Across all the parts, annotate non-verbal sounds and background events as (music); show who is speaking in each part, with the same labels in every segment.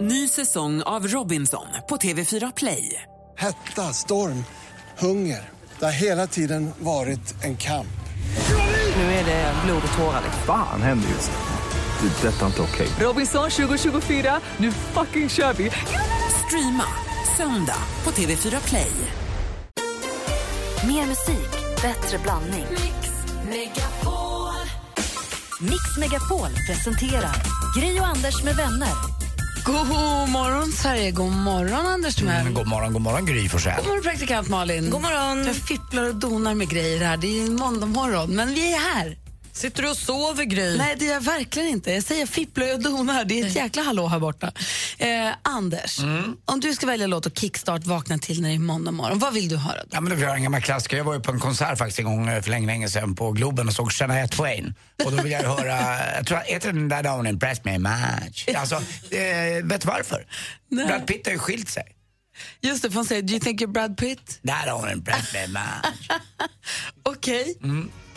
Speaker 1: Ny säsong av Robinson på TV4 Play.
Speaker 2: Hetta, storm, hunger. Det har hela tiden varit en kamp.
Speaker 1: Nu är det blod och tårar.
Speaker 3: Fan händer just nu. Det. är Detta är inte okej.
Speaker 1: Robinson 2024, nu fucking kör vi! Streama söndag på TV4 Play.
Speaker 4: Mer musik, bättre blandning. Mix Megapol presenterar Gri och Anders med vänner.
Speaker 5: God morgon, Sverige. God morgon, Anders Timell.
Speaker 6: God morgon, god morgon Gry Forssell.
Speaker 5: God morgon, praktikant Malin. God morgon. Jag fipplar och donar med grejer här. Det är ju måndag morgon, men vi är här.
Speaker 7: Sitter du och sover, Gry?
Speaker 5: Nej, det är jag verkligen inte. Jag säger fipplar och donar. Det är ett jäkla hallå här borta. Eh, Anders,
Speaker 6: Mm.
Speaker 5: om du ska välja låt och kickstart vakna till när det är måndag morgon, vad vill du höra då?
Speaker 6: Ja, men det var en gammal klassiker. Jag var ju på en konsert faktiskt en gång eh, för länge, länge sedan på Globen och såg Shania Twain. Och då vill jag
Speaker 5: (laughs)
Speaker 6: höra, jag tror, heter den där Don't Impress Me Much? Alltså, eh, vet du varför?
Speaker 5: Nej.
Speaker 6: Brad Pitt har ju skilt sig.
Speaker 5: Just det, för han säger Do you think you're Brad Pitt?
Speaker 6: That don't impress me much.
Speaker 5: Okej.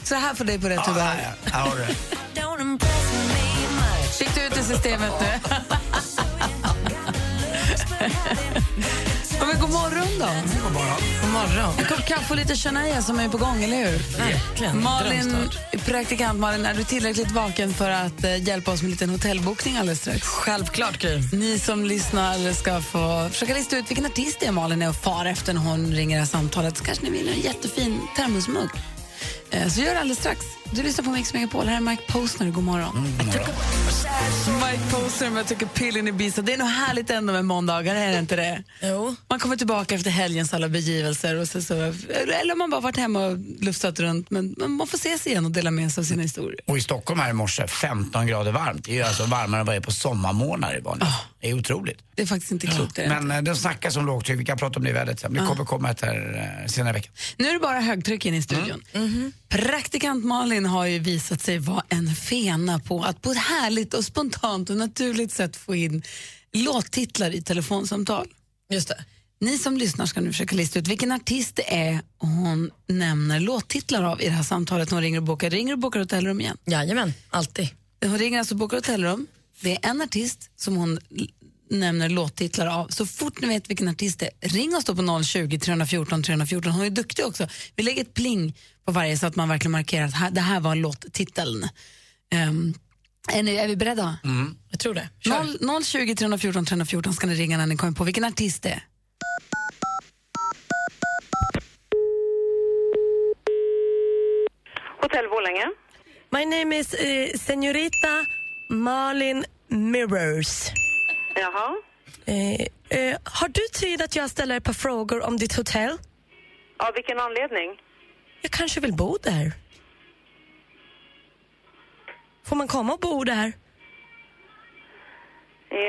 Speaker 5: Så här får dig på rätt
Speaker 6: Mm. Ja,
Speaker 5: humör.
Speaker 6: här, här har du det.
Speaker 4: Don't impress me much.
Speaker 5: Fick du ut i systemet (laughs) nu? Ja, men god morgon då. God morgon. En kopp kaffe och lite Shania som är på gång, eller hur?
Speaker 7: Verkligen.
Speaker 5: Malin,
Speaker 7: Drömstart.
Speaker 5: praktikant Malin, är du tillräckligt vaken för att eh, hjälpa oss med en liten hotellbokning alldeles strax?
Speaker 7: Självklart, Gry.
Speaker 5: Ni som lyssnar ska få försöka lista ut vilken artist det är Malin är och far efter när hon ringer det här samtalet. Så kanske ni vinner en jättefin termosmugg. Eh, Så gör det alldeles strax. Du lyssnar på Mix Megapol. Här är Mike Postner. Mm, God morgon. Mike Postner med Jag tycker pillen i Ibiza. Det är nog härligt ändå med måndagar, är det inte det?
Speaker 7: Jo.
Speaker 5: Man kommer tillbaka efter helgens alla begivelser och så, så, eller om man bara varit hemma och lufsat runt. Men, men man får ses igen och dela med sig av sina historier.
Speaker 6: Och i Stockholm här i morse, 15 grader varmt. Det är ju alltså varmare än vad det är på sommarmånader i vanliga. Det är otroligt.
Speaker 5: Ah. Det är faktiskt inte Ah. klokt. det är det
Speaker 6: Men eh, den snackas om lågtryck, vi kan prata om det i vädret sen. Det kommer komma ett här eh, senare i veckan.
Speaker 5: Nu är det bara högtryck in i studion.
Speaker 7: Mm. Mm-hmm.
Speaker 5: Praktikant Malin har ju visat sig vara en fena på att på ett härligt och spontant och naturligt sätt få in låttitlar i telefonsamtal.
Speaker 7: Just det.
Speaker 5: Ni som lyssnar ska nu försöka lista ut vilken artist det är hon nämner låttitlar av i det här samtalet när hon ringer och bokar. Ringer och bokar hotellrum igen.
Speaker 7: Jajamän, alltid.
Speaker 5: Hon ringer alltså och bokar hotellrum. Det är en artist som hon l- nämner låttitlar av. Så fort ni vet vilken artist det är, ring oss då på 020 314 314. Hon är duktig också. Vi lägger ett pling på varje så att man verkligen markerar att här, det här var låttiteln. Um, är, ni, är vi beredda?
Speaker 7: Jag tror det. Kör.
Speaker 5: Noll 020 314 314 ska ni ringa när ni kommer på vilken artist det är.
Speaker 8: Hotell Borlänge.
Speaker 9: My name is eh, Senorita Malin Mirrors.
Speaker 8: Jaha.
Speaker 9: Eh, eh, har du tid att jag ställer ett par frågor om ditt hotell?
Speaker 8: Av vilken anledning?
Speaker 9: Jag kanske vill bo där. Får man komma och bo där?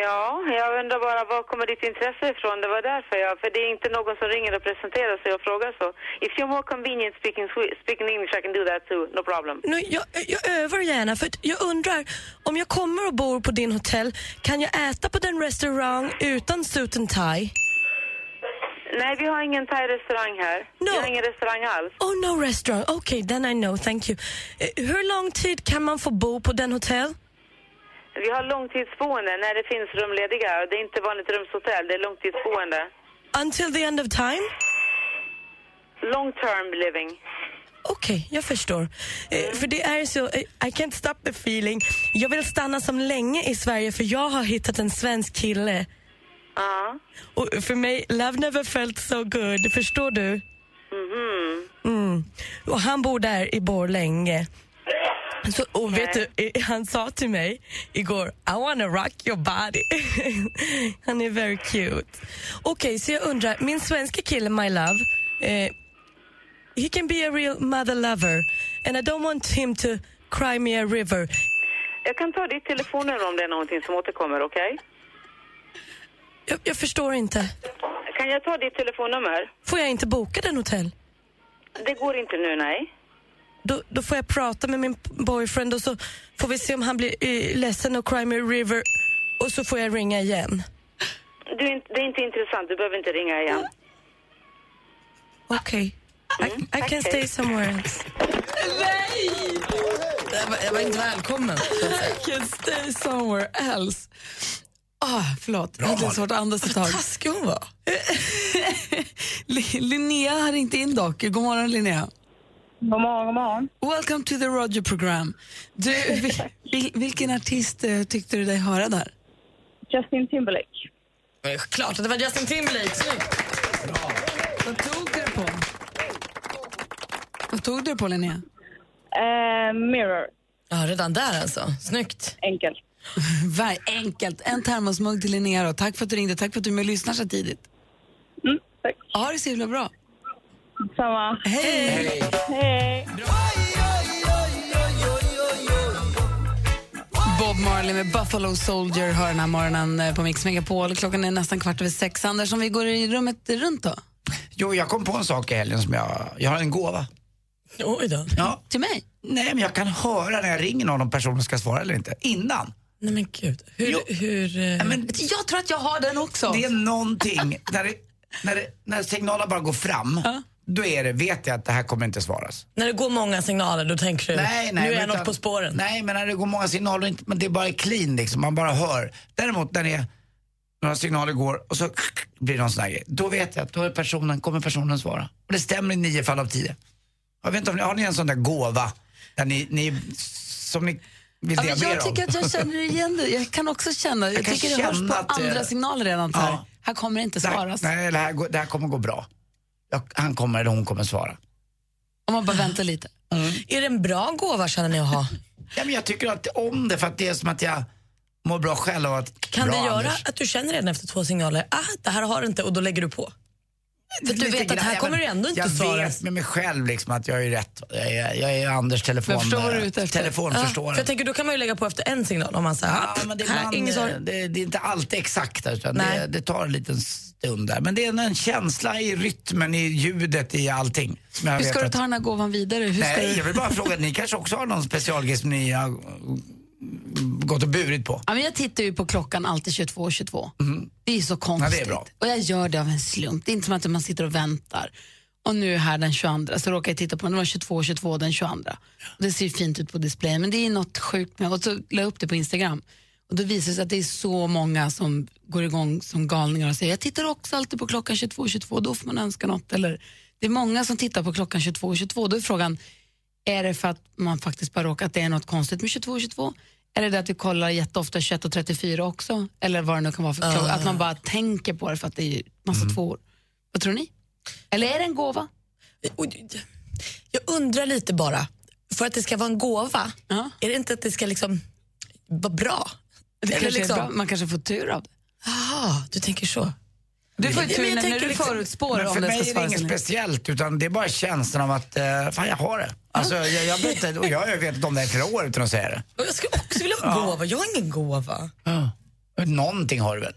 Speaker 8: Ja, jag undrar bara var kommer ditt intresse ifrån? Det var därför jag, för det är inte någon som ringer och presenterar sig och frågar så. If you're more convenient speaking, Swe- speaking English I can do that too, no problem.
Speaker 9: Nu, jag, jag övar gärna, för att jag undrar om jag kommer och bor på din hotell, kan jag äta på den restaurang utan suit and tie?
Speaker 8: Nej, vi har ingen thai-restaurang här.
Speaker 9: No.
Speaker 8: Vi har ingen restaurang alls.
Speaker 9: Oh no restaurang, okay then I know, thank you. Eh, hur lång tid kan man få bo på den hotell?
Speaker 8: Vi har långtidsboende när det finns rum lediga. Och Det är inte vanligt rumshotell, det är långtidsboende.
Speaker 9: Until the end of time?
Speaker 8: Long term living.
Speaker 9: Okej, jag förstår.
Speaker 8: Mm.
Speaker 9: Eh, för det är så, eh, I can't stop the feeling. Jag vill stanna som länge i Sverige för jag har hittat en svensk kille.
Speaker 8: Ja.
Speaker 9: Och för mig, love never felt so good, förstår du?
Speaker 8: Mhm.
Speaker 9: Mm. Och han bor där i Borlänge. Så, och vet
Speaker 8: Nej.
Speaker 9: du, eh, han sa till mig igår, I wanna rock your body. (laughs) han är very cute. Okej, så jag undrar, min svenska kille, my love, eh, he can be a real mother lover and I don't want him to cry me a river.
Speaker 8: Jag kan ta ditt telefonnummer om det är någonting som återkommer, okej?
Speaker 9: Jag, jag förstår inte.
Speaker 8: Kan jag ta ditt telefonnummer?
Speaker 9: Får jag inte boka den hotell?
Speaker 8: Det går inte nu, nej.
Speaker 9: Då, då får jag prata med min boyfriend och så får vi se om han blir eh, ledsen och cry me a river och så får jag ringa igen.
Speaker 8: Du, är inte- det är inte intressant, du behöver inte ringa igen.
Speaker 9: Okej. I, I
Speaker 8: tack, hej.
Speaker 9: can stay somewhere else.
Speaker 7: Jag var, jag var inte välkommen.
Speaker 5: I can stay somewhere else. Ah, förlåt, jag
Speaker 6: Bra,
Speaker 5: hade lite
Speaker 6: Malin.
Speaker 5: svårt att andas ett tag.
Speaker 7: Taskig hon var.
Speaker 5: (laughs) Li- Linnea har ringt in dock. God morgon Linnea.
Speaker 10: God morgon, god morgon.
Speaker 5: Welcome to the Roger program. Du,
Speaker 10: (laughs)
Speaker 5: vil, vil, vilken artist eh, tyckte du dig höra där?
Speaker 10: Justin Timberlake.
Speaker 7: Det är klart att det var Justin Timberlake. Snyggt.
Speaker 5: Vad tog du det på?
Speaker 8: Eh.
Speaker 5: Vad tog du det på Linnea?
Speaker 10: Eh, mirror,
Speaker 7: Ja, redan där alltså. Snyggt.
Speaker 5: (laughs)
Speaker 10: enkelt.
Speaker 5: Var, enkelt, en termosmugg till Linnea då. Tack för att du ringde, tack för att du är med och lyssnar så tidigt.
Speaker 10: Mm, tack.
Speaker 5: Ja, det är så himla bra.
Speaker 10: Samma.
Speaker 5: Hej!
Speaker 10: Hej.
Speaker 5: Bob Marley med Buffalo Soldier hör den här morgonen eh, på Mix Megapol. Klockan är nästan kvart över sex. Anders, om vi går i rummet runt då?
Speaker 6: Jo, jag kom på en sak i helgen som jag... Jag har en gåva.
Speaker 7: Oj då.
Speaker 6: Ja.
Speaker 5: Till mig?
Speaker 6: Nej, men jag kan höra när jag ringer någon om personen ska svara eller inte. Innan.
Speaker 7: Nej men gud.
Speaker 6: Jo.
Speaker 7: Hur... hur eh,
Speaker 6: Nej, men
Speaker 5: Jag tror att jag har den också.
Speaker 6: det är
Speaker 5: (laughs)
Speaker 6: någonting, när, det, när, det, när signalen bara går fram, då är det, vet jag att det här kommer inte svaras.
Speaker 7: När det går många signaler då tänker du
Speaker 6: Nej, nej,
Speaker 7: nu är
Speaker 6: men
Speaker 7: jag något
Speaker 6: utan-
Speaker 7: på spåren.
Speaker 6: Nej, men när det går många signaler, och inte- men det är bara clean liksom, man bara hör. Däremot när det är några signaler går och så blir det någon sån här grej. Då vet jag att då är personen, kommer personen svara. Och det stämmer i nio fall av tio. Jag vet inte om ni, har ni en sån där gåva där ni, ni, som ni vill
Speaker 5: Ja,
Speaker 6: dela
Speaker 5: men
Speaker 6: med er
Speaker 5: jag
Speaker 6: av?
Speaker 5: tycker att jag känner igen det. Jag kan också känna, jag,
Speaker 6: kan
Speaker 5: tycker det
Speaker 6: känna
Speaker 5: hörs på
Speaker 6: att det-
Speaker 5: andra signaler redan. Så här.
Speaker 6: Ja.
Speaker 5: här kommer det inte
Speaker 6: Det här-
Speaker 5: svaras.
Speaker 6: Nej, det här, går- det här kommer gå bra. Jag, han kommer eller hon kommer svara.
Speaker 5: Om man bara väntar lite.
Speaker 6: Mm.
Speaker 7: Är det en bra gåva känner ni att
Speaker 6: (laughs)
Speaker 7: ha?
Speaker 6: Ja, men jag tycker att om det för att det är som att jag mår bra själv av att...
Speaker 7: Kan
Speaker 6: bra,
Speaker 7: det göra
Speaker 6: Anders.
Speaker 7: att du känner redan efter två signaler, ah det här har du inte och då lägger du på? För att du
Speaker 6: Lite
Speaker 7: vet att
Speaker 6: grann.
Speaker 7: här
Speaker 6: Ja,
Speaker 7: kommer
Speaker 6: men
Speaker 7: det ändå inte
Speaker 6: Jag
Speaker 7: svaras.
Speaker 6: vet med mig själv liksom att jag är rätt. Jag är, jag är Anders telefon,
Speaker 5: Jag förstår vad du är ute efter.
Speaker 7: Ja,
Speaker 6: telefonförstående.
Speaker 7: för jag tänker då kan man ju lägga på efter en signal om man säger,
Speaker 6: Ja,
Speaker 7: ah,
Speaker 6: men det, är
Speaker 7: här,
Speaker 6: ibland,
Speaker 7: ingen svar.
Speaker 6: eh, det, det är inte alltid exakt, utan
Speaker 7: Nej.
Speaker 6: det, det tar en liten stund där. Men det är en- en känsla i rytmen, i ljudet, i allting. Som jag
Speaker 5: Hur
Speaker 6: vet
Speaker 5: ska du
Speaker 6: att-
Speaker 5: ta den här gåvan vidare? Hur ska
Speaker 6: Nej,
Speaker 5: du...
Speaker 6: jag vill bara fråga, ni kanske också har någon specialgrej som ni har mm, gått och burit på? Mm.
Speaker 5: Ja, men jag tittar ju på klockan alltid 22.22. Det är ju så
Speaker 6: Ja,
Speaker 5: konstigt.
Speaker 6: det är bra.
Speaker 5: Och jag gör det av en slump. Det är inte som att man sitter och väntar. Och nu är här den 22, så råkar jag titta på den. Det var 22.22 den 22. Det ser ju fint ut på displayen, men det är något sjukt med. Och så la jag upp det på Instagram. Och då visar det sig att det är så många som går igång som galningar och säger jag tittar också alltid på klockan 22.22, då får man önska något. Eller, det är många som tittar på klockan 22.22, då är frågan är det för att man faktiskt bara råkar att det är något konstigt med 22 och 22? Är det det att vi kollar jätteofta 21 och 34 också? Eller vad det nu kan vara för klocka. Att
Speaker 6: Ah.
Speaker 5: man bara tänker på det för att det är ju massa
Speaker 6: Mm.
Speaker 5: tvåor. Vad tror ni? Eller är det en gåva?
Speaker 7: Oj, Jag undrar lite bara, för att det ska vara en gåva,
Speaker 5: Ja.
Speaker 7: är det inte att det ska liksom vara bra?
Speaker 5: Det
Speaker 7: Eller
Speaker 5: kanske
Speaker 7: liksom-
Speaker 5: är bra. Man kanske får tur av det.
Speaker 7: Aha, du tänker så.
Speaker 5: Du får ju
Speaker 7: Ja, men
Speaker 5: tur
Speaker 7: jag
Speaker 5: när, när
Speaker 7: tänker
Speaker 5: du
Speaker 7: liksom-
Speaker 5: förutspår
Speaker 6: Men för
Speaker 5: om
Speaker 6: mig
Speaker 5: det ska
Speaker 6: är det
Speaker 5: svaras
Speaker 6: inget
Speaker 5: eller inte.
Speaker 6: speciellt utan det är bara känslan av att eh, fan jag har det. Alltså, jag, jag, vet inte, och jag har ju vetat om det här i flera år utan att säga det.
Speaker 7: Och Jag skulle också vilja ha en gåva, jag har ingen gåva.
Speaker 6: Någonting har du väl?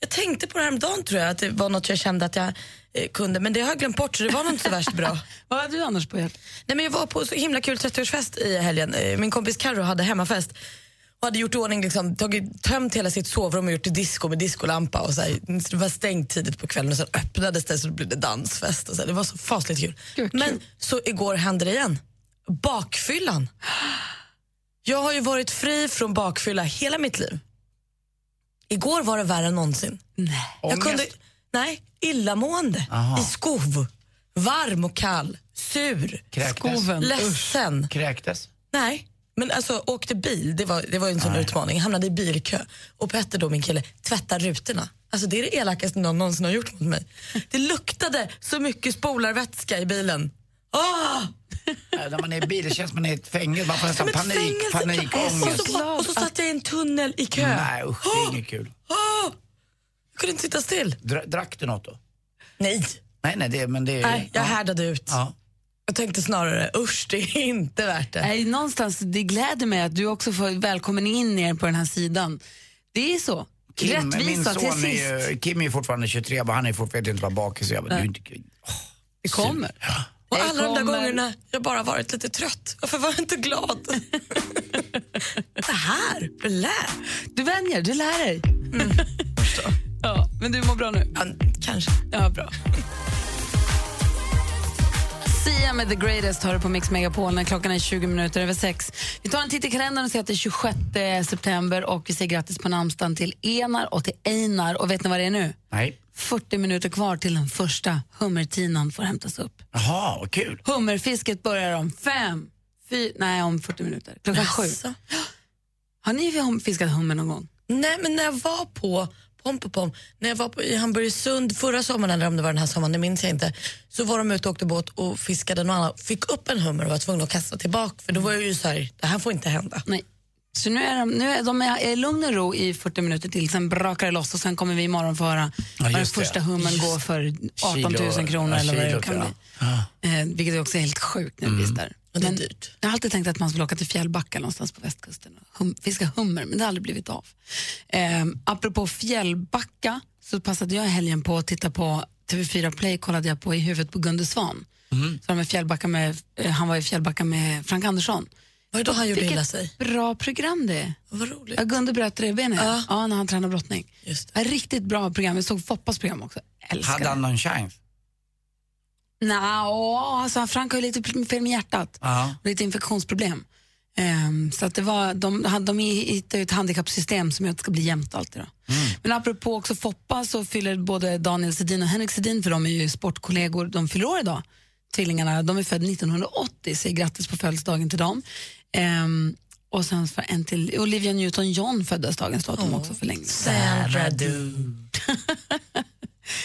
Speaker 7: Jag tänkte på det häromdagen tror jag, att det var något jag kände att jag eh, kunde, men det har jag glömt bort så det var nog inte så värst bra.
Speaker 5: (laughs) Vad har du annars på hjärtat?
Speaker 7: Nej, men jag var på så himla kul 30-årsfest i helgen. Eh, Min kompis Carro hade hemmafest och hade gjort i ordning, liksom, tagit, tömt hela sitt sovrum och gjort till disco med discolampa. Och så här, så det var stängt tidigt på kvällen och sen öppnades det så det blev det dansfest. Och så här, det var så fasligt kul.
Speaker 5: Gud, vad
Speaker 7: men
Speaker 5: kul.
Speaker 7: så igår hände det igen. Bakfyllan. Jag har ju varit fri från bakfylla hela mitt liv. Igår var det värre än någonsin. Jag
Speaker 6: Ångest?
Speaker 7: kunde, nej, illamående,
Speaker 6: Aha.
Speaker 7: i skov, varm och kall, sur.
Speaker 6: Kräktes?
Speaker 5: Skoven.
Speaker 7: Ledsen.
Speaker 6: Kräktes?
Speaker 7: Nej. Men alltså åkte bil, det var, det var ju en sån utmaning. Jag hamnade i bilkö och Petter då, min kille, tvättade rutorna. Alltså det är det elakaste någon någonsin har gjort mot
Speaker 6: (laughs)
Speaker 7: mig. Det luktade så mycket spolarvätska i bilen. Ah!
Speaker 6: Äh, när man är i bil det känns som man är i ett fängelse. Man får nästan
Speaker 7: Men
Speaker 6: panik,
Speaker 7: fängelse- Och
Speaker 6: panikångest.
Speaker 7: så, bara- och så satt jag i en tunnel i kö.
Speaker 6: Nej usch, det är inget kul.
Speaker 7: Ah! Jag kunde inte sitta still.
Speaker 6: Dra, drack du något då?
Speaker 7: Nej,
Speaker 6: Nej, nej, det, men det är...
Speaker 7: Nej jag härdade ut.
Speaker 6: ja.
Speaker 7: Jag tänkte snarare, usch det är inte värt det.
Speaker 5: Nej, någonstans, det gläder mig att du också får välkommen in er på den här sidan. Det är så.
Speaker 6: Kim, min
Speaker 5: Rättvisa till
Speaker 6: son
Speaker 5: sist.
Speaker 6: är ju, Kim är ju fortfarande 23, men han är fortfarande inte bara bakis. Jag bara, du är inte kul.
Speaker 5: Det kommer.
Speaker 7: Och
Speaker 5: Det
Speaker 7: alla de där
Speaker 5: kommer.
Speaker 7: gångerna jag bara varit lite trött. Varför var jag inte glad? Så här, det lät.
Speaker 5: Du vänjer, du lär dig. ja, men du mår bra nu?
Speaker 7: Ja, kanske.
Speaker 5: Ja, bra. Sia med The Greatest hör du på Mix Megapol när klockan är 20 minuter över sex. Vi tar en titt i kalendern och ser att det är 26 september och vi säger grattis på namnsdagen till Enar och till Einar. Och vet ni vad det är nu?
Speaker 6: Nej.
Speaker 5: 40 minuter kvar till den första hummertinan får hämtas upp.
Speaker 6: Jaha, vad kul.
Speaker 5: Hummerfisket börjar om fem, fy, nej om 40 minuter, klockan sju.
Speaker 7: Jaså?
Speaker 5: Har ni hum- fiskat hummer någon gång?
Speaker 7: Nej, men när jag var på pom, pom, pom, när jag var på, i Hamburgsund förra sommaren, eller om det var den här sommaren, det minns jag inte, så var de ute och åkte båt och fiskade någon annan, fick upp en hummer och var tvungna att kasta tillbaka, för då var jag ju så här, det här får inte hända.
Speaker 5: Nej. Så nu är de, nu är de är i lugn och ro i 40 minuter till, sen brakar det loss och sen kommer vi imorgon få höra vad den
Speaker 6: just det.
Speaker 5: första hummen går för 18 000
Speaker 6: Kilo,
Speaker 5: kronor
Speaker 6: ja,
Speaker 5: eller vad det
Speaker 6: kilot,
Speaker 5: kan
Speaker 6: ja.
Speaker 5: bli. Eh, vilket är också helt sjukt när det finns där.
Speaker 7: Och det är
Speaker 5: Men
Speaker 7: dyrt.
Speaker 5: Jag har alltid tänkt att man skulle åka till Fjällbacka någonstans på västkusten och hum, fiska hummer, men det har aldrig blivit av. Eh, apropå Fjällbacka så passade jag i helgen på att titta på TV4 Play kollade jag på i huvudet på Gunde Svan.
Speaker 6: Mm.
Speaker 5: Så de är i Fjällbacka med, eh, han var i Fjällbacka med Frank Andersson.
Speaker 7: Vad är det då han gjorde
Speaker 5: Vilket
Speaker 7: illa sig?
Speaker 5: bra program det är.
Speaker 7: Vad roligt.
Speaker 5: Ja, Gunde bröt revbenet ja.
Speaker 7: Ja.
Speaker 5: när han tränade brottning.
Speaker 7: Just
Speaker 5: Ja, Riktigt bra program. Jag såg Foppas program också. Älskar
Speaker 6: Hade
Speaker 5: det.
Speaker 6: han någon chans?
Speaker 5: Nja, alltså Frank har ju lite pr- fel med hjärtat.
Speaker 6: Ja.
Speaker 5: Lite infektionsproblem. Ehm, så att det var, de, hade- de hittade ju ett handikappsystem som gör att det ska bli jämnt alltid. Då. Men apropå också Foppa så fyller både Daniel Sedin och Henrik Sedin, för de är ju sportkollegor, de fyller år idag. Tvillingarna, de är födda 1980, säger grattis på födelsedagen till dem. Ehm, och sen för en till, Olivia Newton-John föddes dagens datum också för länge sedan.
Speaker 7: Sandra du.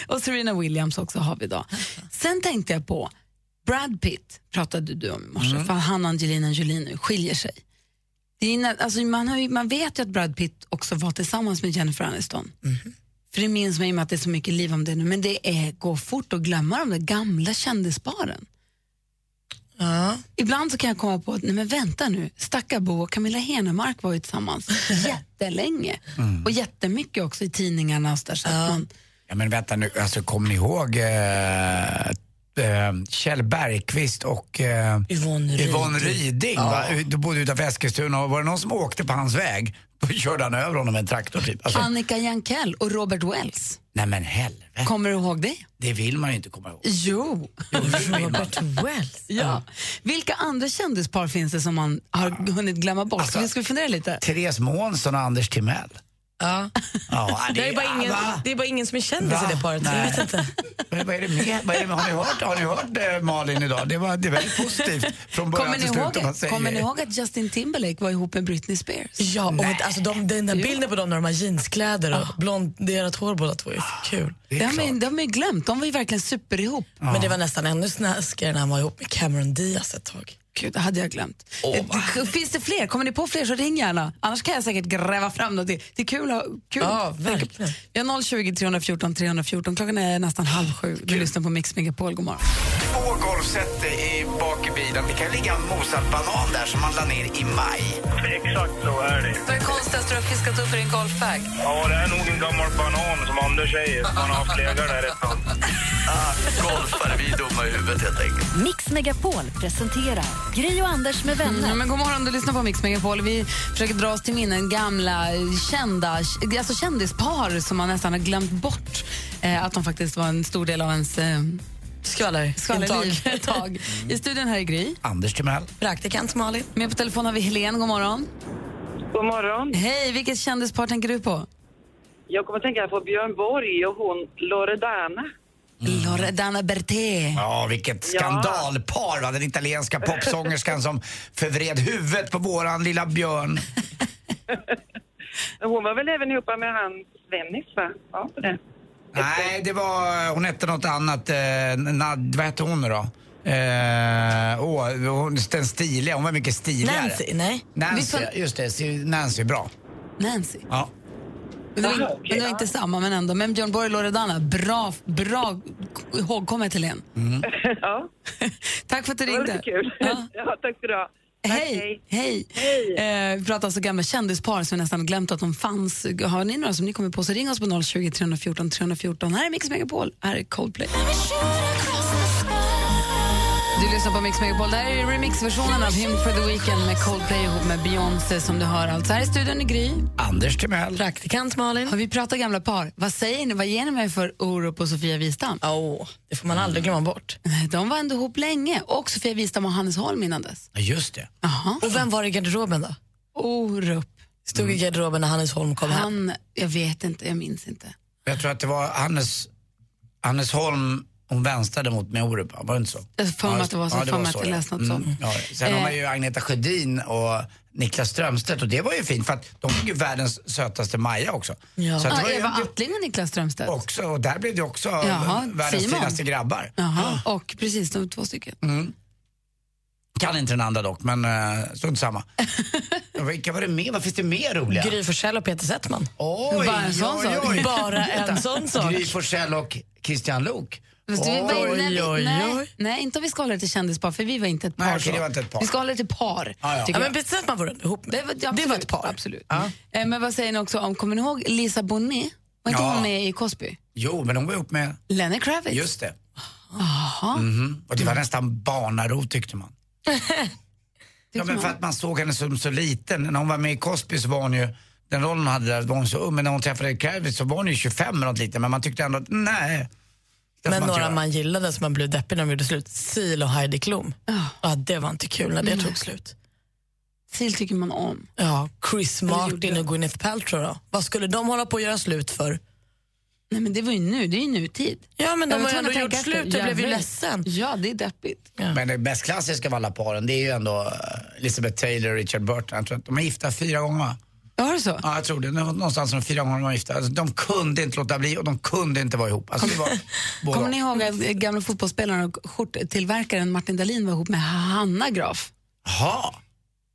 Speaker 5: Och Serena Williams också har vi idag. Sen tänkte jag på, Brad Pitt pratade du om i morse, för han och Angelina Jolie nu skiljer sig. Det är, nä- alltså man, har ju, man vet ju att Brad Pitt också var tillsammans med Jennifer Aniston. För det minns man ju med att det är så mycket liv om det nu, men det är, går fort att glömma de där gamla kändisparen.
Speaker 7: Ja.
Speaker 5: Ibland så kan jag komma på att, nej men vänta nu, Stakkarbo och Camilla Henemark var ju tillsammans jättelänge. Och jättemycket också i tidningarna och så där, så att man,
Speaker 6: Ja, men vänta nu, alltså kommer ni ihåg eh, eh, Kjell Bergqvist och eh,
Speaker 7: Yvonne Ryd.
Speaker 6: Yvonne Ryding? Va? De bodde utanför Eskilstuna och var det någon som åkte på hans väg, då körde han över honom med en traktor typ. Alltså,
Speaker 5: Annika Jankell och Robert Wells.
Speaker 6: Nej men helvete,
Speaker 5: Kommer du ihåg det?
Speaker 6: det vill man ju inte komma ihåg.
Speaker 5: Jo.
Speaker 7: Robert Wells.
Speaker 5: Ja. Vilka andra kändispar finns det som man har hunnit glömma bort?
Speaker 6: Alltså-
Speaker 5: Vi ska fundera lite.
Speaker 6: Therese Månsson och Anders Timell.
Speaker 7: Ja.
Speaker 6: Ja,
Speaker 7: Det, är bara ingen,
Speaker 6: va?
Speaker 7: det är bara ingen som är kändis
Speaker 6: Va?
Speaker 7: i det paret. så Jag
Speaker 6: Nej.
Speaker 7: vet inte.
Speaker 6: Vad vad är det med? Vad är det med? Har ni hört, har ni hört eh, Malin idag? Det var, det var väldigt positivt från början
Speaker 5: Kommer ni,
Speaker 6: till slut.
Speaker 5: ihåg,
Speaker 6: om man
Speaker 5: det?
Speaker 6: säger.
Speaker 5: kommer ni ihåg att Justin Timberlake var ihop med Britney Spears?
Speaker 7: Ja, och alltså de, den där bilden på dem när de har jeanskläder och blonderat hår båda två är för kul.
Speaker 6: Ah. Det är
Speaker 5: Det har,
Speaker 6: klart. Ah.
Speaker 5: man, det har man ju glömt. De var ju verkligen super ihop.
Speaker 7: Men det var nästan ännu snaskigare när han var ihop med Cameron Diaz ett tag.
Speaker 5: Gud, det hade jag glömt. Eh, det- finns det fler? Kommer ni på fler så ring gärna. Annars kan jag säkert gräva fram något. Det det är kul. att ha- kul.
Speaker 7: Ja, verkligen.
Speaker 5: Vi har 020 314 314. Klockan är nästan halv sju. Du lyssnar på Mix Megapol. God morgon.
Speaker 6: Två golfset i bak i bilen. Det kan ligga en mosad banan där som man la ner i maj.
Speaker 10: Exakt så är det.
Speaker 5: Vad är konstigast du har fiskat upp i din golfbag?
Speaker 10: Ja, det är nog en gammal banan som Anders säger, som han har haft legat där ett tag.
Speaker 6: Golfare, Ah, vi är dumma i huvudet helt enkelt.
Speaker 4: Mix Megapol presenterar Gri och Anders med vänner.
Speaker 5: Mm, Ja, men god morgon, du lyssnar på Mix Megapol. Vi försöker dra oss till minnen gamla eh, kända, alltså kändispar som man nästan har glömt bort eh, att de faktiskt var en stor del av ens eh,
Speaker 7: Skvaller.
Speaker 5: skvallerliv
Speaker 7: Intag.
Speaker 5: ett tag. I studion här är Gry.
Speaker 6: Anders Timell.
Speaker 7: Praktikant Malin.
Speaker 5: Med på telefon har vi Helen, god morgon.
Speaker 10: God morgon.
Speaker 5: Hej, vilket kändispar tänker du på?
Speaker 10: Jag kommer att tänka på Björn Borg och hon Loredana.
Speaker 5: Loredana Berté.
Speaker 6: Ja, vilket skandalpar. Va? Den italienska popsångerskan som förvred huvudet på våran lilla björn.
Speaker 10: Hon var väl även ihop med han Svennis, va? Ja, på det.
Speaker 6: Nej, det var... Hon hette något annat. Eh, Nad, vad hette hon nu då? Eh, åh, hon, den stiliga. Hon var mycket stiligare.
Speaker 7: Nancy, nej.
Speaker 5: Visst
Speaker 6: Nancy,
Speaker 5: var-
Speaker 6: just det. Nancy, bra.
Speaker 5: Nancy.
Speaker 6: Ja.
Speaker 5: Men det var,
Speaker 10: Jaha, okej,
Speaker 5: men det var inte samma, men ändå. Men Björn Borg och Loredana, bra, bra ihågkommet Helen.
Speaker 10: (laughs) Ja,
Speaker 5: Mm. (laughs) Tack för att du
Speaker 10: det var
Speaker 5: ringde.
Speaker 10: lite kul.
Speaker 5: Ja.
Speaker 10: (laughs) Ja, tack för idag. Tack,
Speaker 5: Hej! Hej! Eh, vi pratar alltså gamla kändispar som vi nästan glömt att de fanns. Har ni några som ni kommer på så ring oss på 020 314 314. Här är Mix Megapol, här är Coldplay. Du lyssnar på Mix Megapol. Det här är remixversionen av Hymn for the Weekend med Coldplay ihop med Beyoncé som du hör alltså. Här i studion är Gry.
Speaker 6: Anders Timell.
Speaker 7: Praktikant Malin.
Speaker 5: Har vi pratat gamla par? Vad säger ni? Vad ger ni mig för Orup och Sofia Wistam?
Speaker 7: Åh, det får man aldrig glömma bort.
Speaker 5: De var ändå ihop länge. Och Sofia Wistam och Hannes Holm innan dess.
Speaker 6: Ja, just det.
Speaker 5: Jaha.
Speaker 7: Och vem var i garderoben då?
Speaker 5: Orup.
Speaker 7: Stod i garderoben när Hannes Holm kom hem.
Speaker 5: Han, jag vet inte, jag minns inte.
Speaker 6: Jag tror att det var Hannes, Hannes Holm, hon vänstrade mot mig Orup, var det inte så?
Speaker 5: Jag får mig
Speaker 6: Ja,
Speaker 5: att det var så,
Speaker 6: ja,
Speaker 5: får mig att
Speaker 6: så,
Speaker 5: jag
Speaker 6: ja. Mm.
Speaker 5: läste något sånt.
Speaker 6: Ja, sen har
Speaker 5: Eh.
Speaker 6: man ju Agneta Sjödin och Niklas Strömstedt och det var ju fint för att de fick ju världens sötaste Maja också.
Speaker 7: Ja.
Speaker 6: Så att det
Speaker 5: Ah,
Speaker 6: var ju
Speaker 5: Eva Attling och Niklas Strömstedt.
Speaker 6: också, och där blev det också
Speaker 5: Jaha,
Speaker 6: eh, världens
Speaker 5: Simon.
Speaker 6: finaste grabbar. Mm.
Speaker 5: Jaha. Och precis, de två stycken.
Speaker 6: Kan inte den andra dock, men uh, strunt
Speaker 5: (laughs)
Speaker 6: samma. Ja, Vilka var det mer? Vad finns det mer roliga?
Speaker 7: Gry Forssell och Peter Settman.
Speaker 6: Oj,
Speaker 5: Bara en sån
Speaker 6: oj,
Speaker 5: sak.
Speaker 6: oj.
Speaker 7: Bara en sån sak.
Speaker 6: Gry Forssell och Christian Lok.
Speaker 5: Fast vi var inne,
Speaker 7: Oj, oj,
Speaker 5: nej,
Speaker 7: oj.
Speaker 5: nej, inte om vi ska hålla det till kändispar, för vi var inte ett par.
Speaker 6: Nej, okej,
Speaker 5: så.
Speaker 6: det var inte ett par.
Speaker 5: Vi ska hålla det till par.
Speaker 6: Ja, ja.
Speaker 5: tycker
Speaker 7: Ja, men
Speaker 5: jag.
Speaker 7: Peter Settman var ändå ihop med.
Speaker 5: Det var, absolut,
Speaker 7: det var ett par.
Speaker 5: Absolut.
Speaker 6: Ah,
Speaker 5: Eh, Men vad säger ni också om, kommer ni ihåg Lisa Bonet? Var inte
Speaker 6: Ja.
Speaker 5: hon med i Cosby?
Speaker 6: Jo, men de var ihop med...
Speaker 5: Lenny Kravitz?
Speaker 6: Just det.
Speaker 7: Mm.
Speaker 6: Mhm. Och det var nästan barnarot tyckte
Speaker 5: (laughs)
Speaker 6: man. ja, men för att man såg henne som så liten. När hon var med i Cosby så var hon ju, den rollen hon hade där var hon så ung. Men när hon träffade Kravitz så var hon ju 25 eller något lite. Men man tyckte ändå att nej. det får
Speaker 7: Men
Speaker 6: man inte
Speaker 7: några
Speaker 6: göra.
Speaker 7: man gillade som man blev deppig när de gjorde slut. Sil och Heidi Klum.
Speaker 5: Ah.
Speaker 7: Ja, det var inte kul när det tog slut.
Speaker 5: Sil tycker man om.
Speaker 7: Ja, Chris
Speaker 5: gjorde
Speaker 7: Martin
Speaker 5: de?
Speaker 7: och Gwyneth Paltrow då? Vad skulle de hålla på att göra slut för?
Speaker 5: Nej men det var ju nu, det är ju nutid.
Speaker 7: Ja, men de
Speaker 5: Jag var
Speaker 7: har ju
Speaker 5: tvungen
Speaker 7: ändå
Speaker 5: att
Speaker 7: gjort
Speaker 5: tänka efter.
Speaker 7: slut. Jag blev ju
Speaker 5: vet.
Speaker 7: ledsen.
Speaker 5: Ja, det är deppigt.
Speaker 6: Men det mest klassiska av alla paren det är ju ändå eh, Elizabeth Taylor och Richard Burton. Jag tror att de är gifta fyra gånger va?
Speaker 5: Ja, Var det så?
Speaker 6: Ja, jag tror det. Det var Någonstans som fyra gånger de var gifta. Alltså, de kunde inte låta bli och de kunde inte vara ihop. Alltså, det
Speaker 5: (laughs)
Speaker 6: var både
Speaker 5: Kommer
Speaker 6: och.
Speaker 5: ni ihåg att eh, gamla fotbollsspelaren och skjorttillverkaren Martin Dahlin var ihop med Hanna Graf?
Speaker 6: Jaha,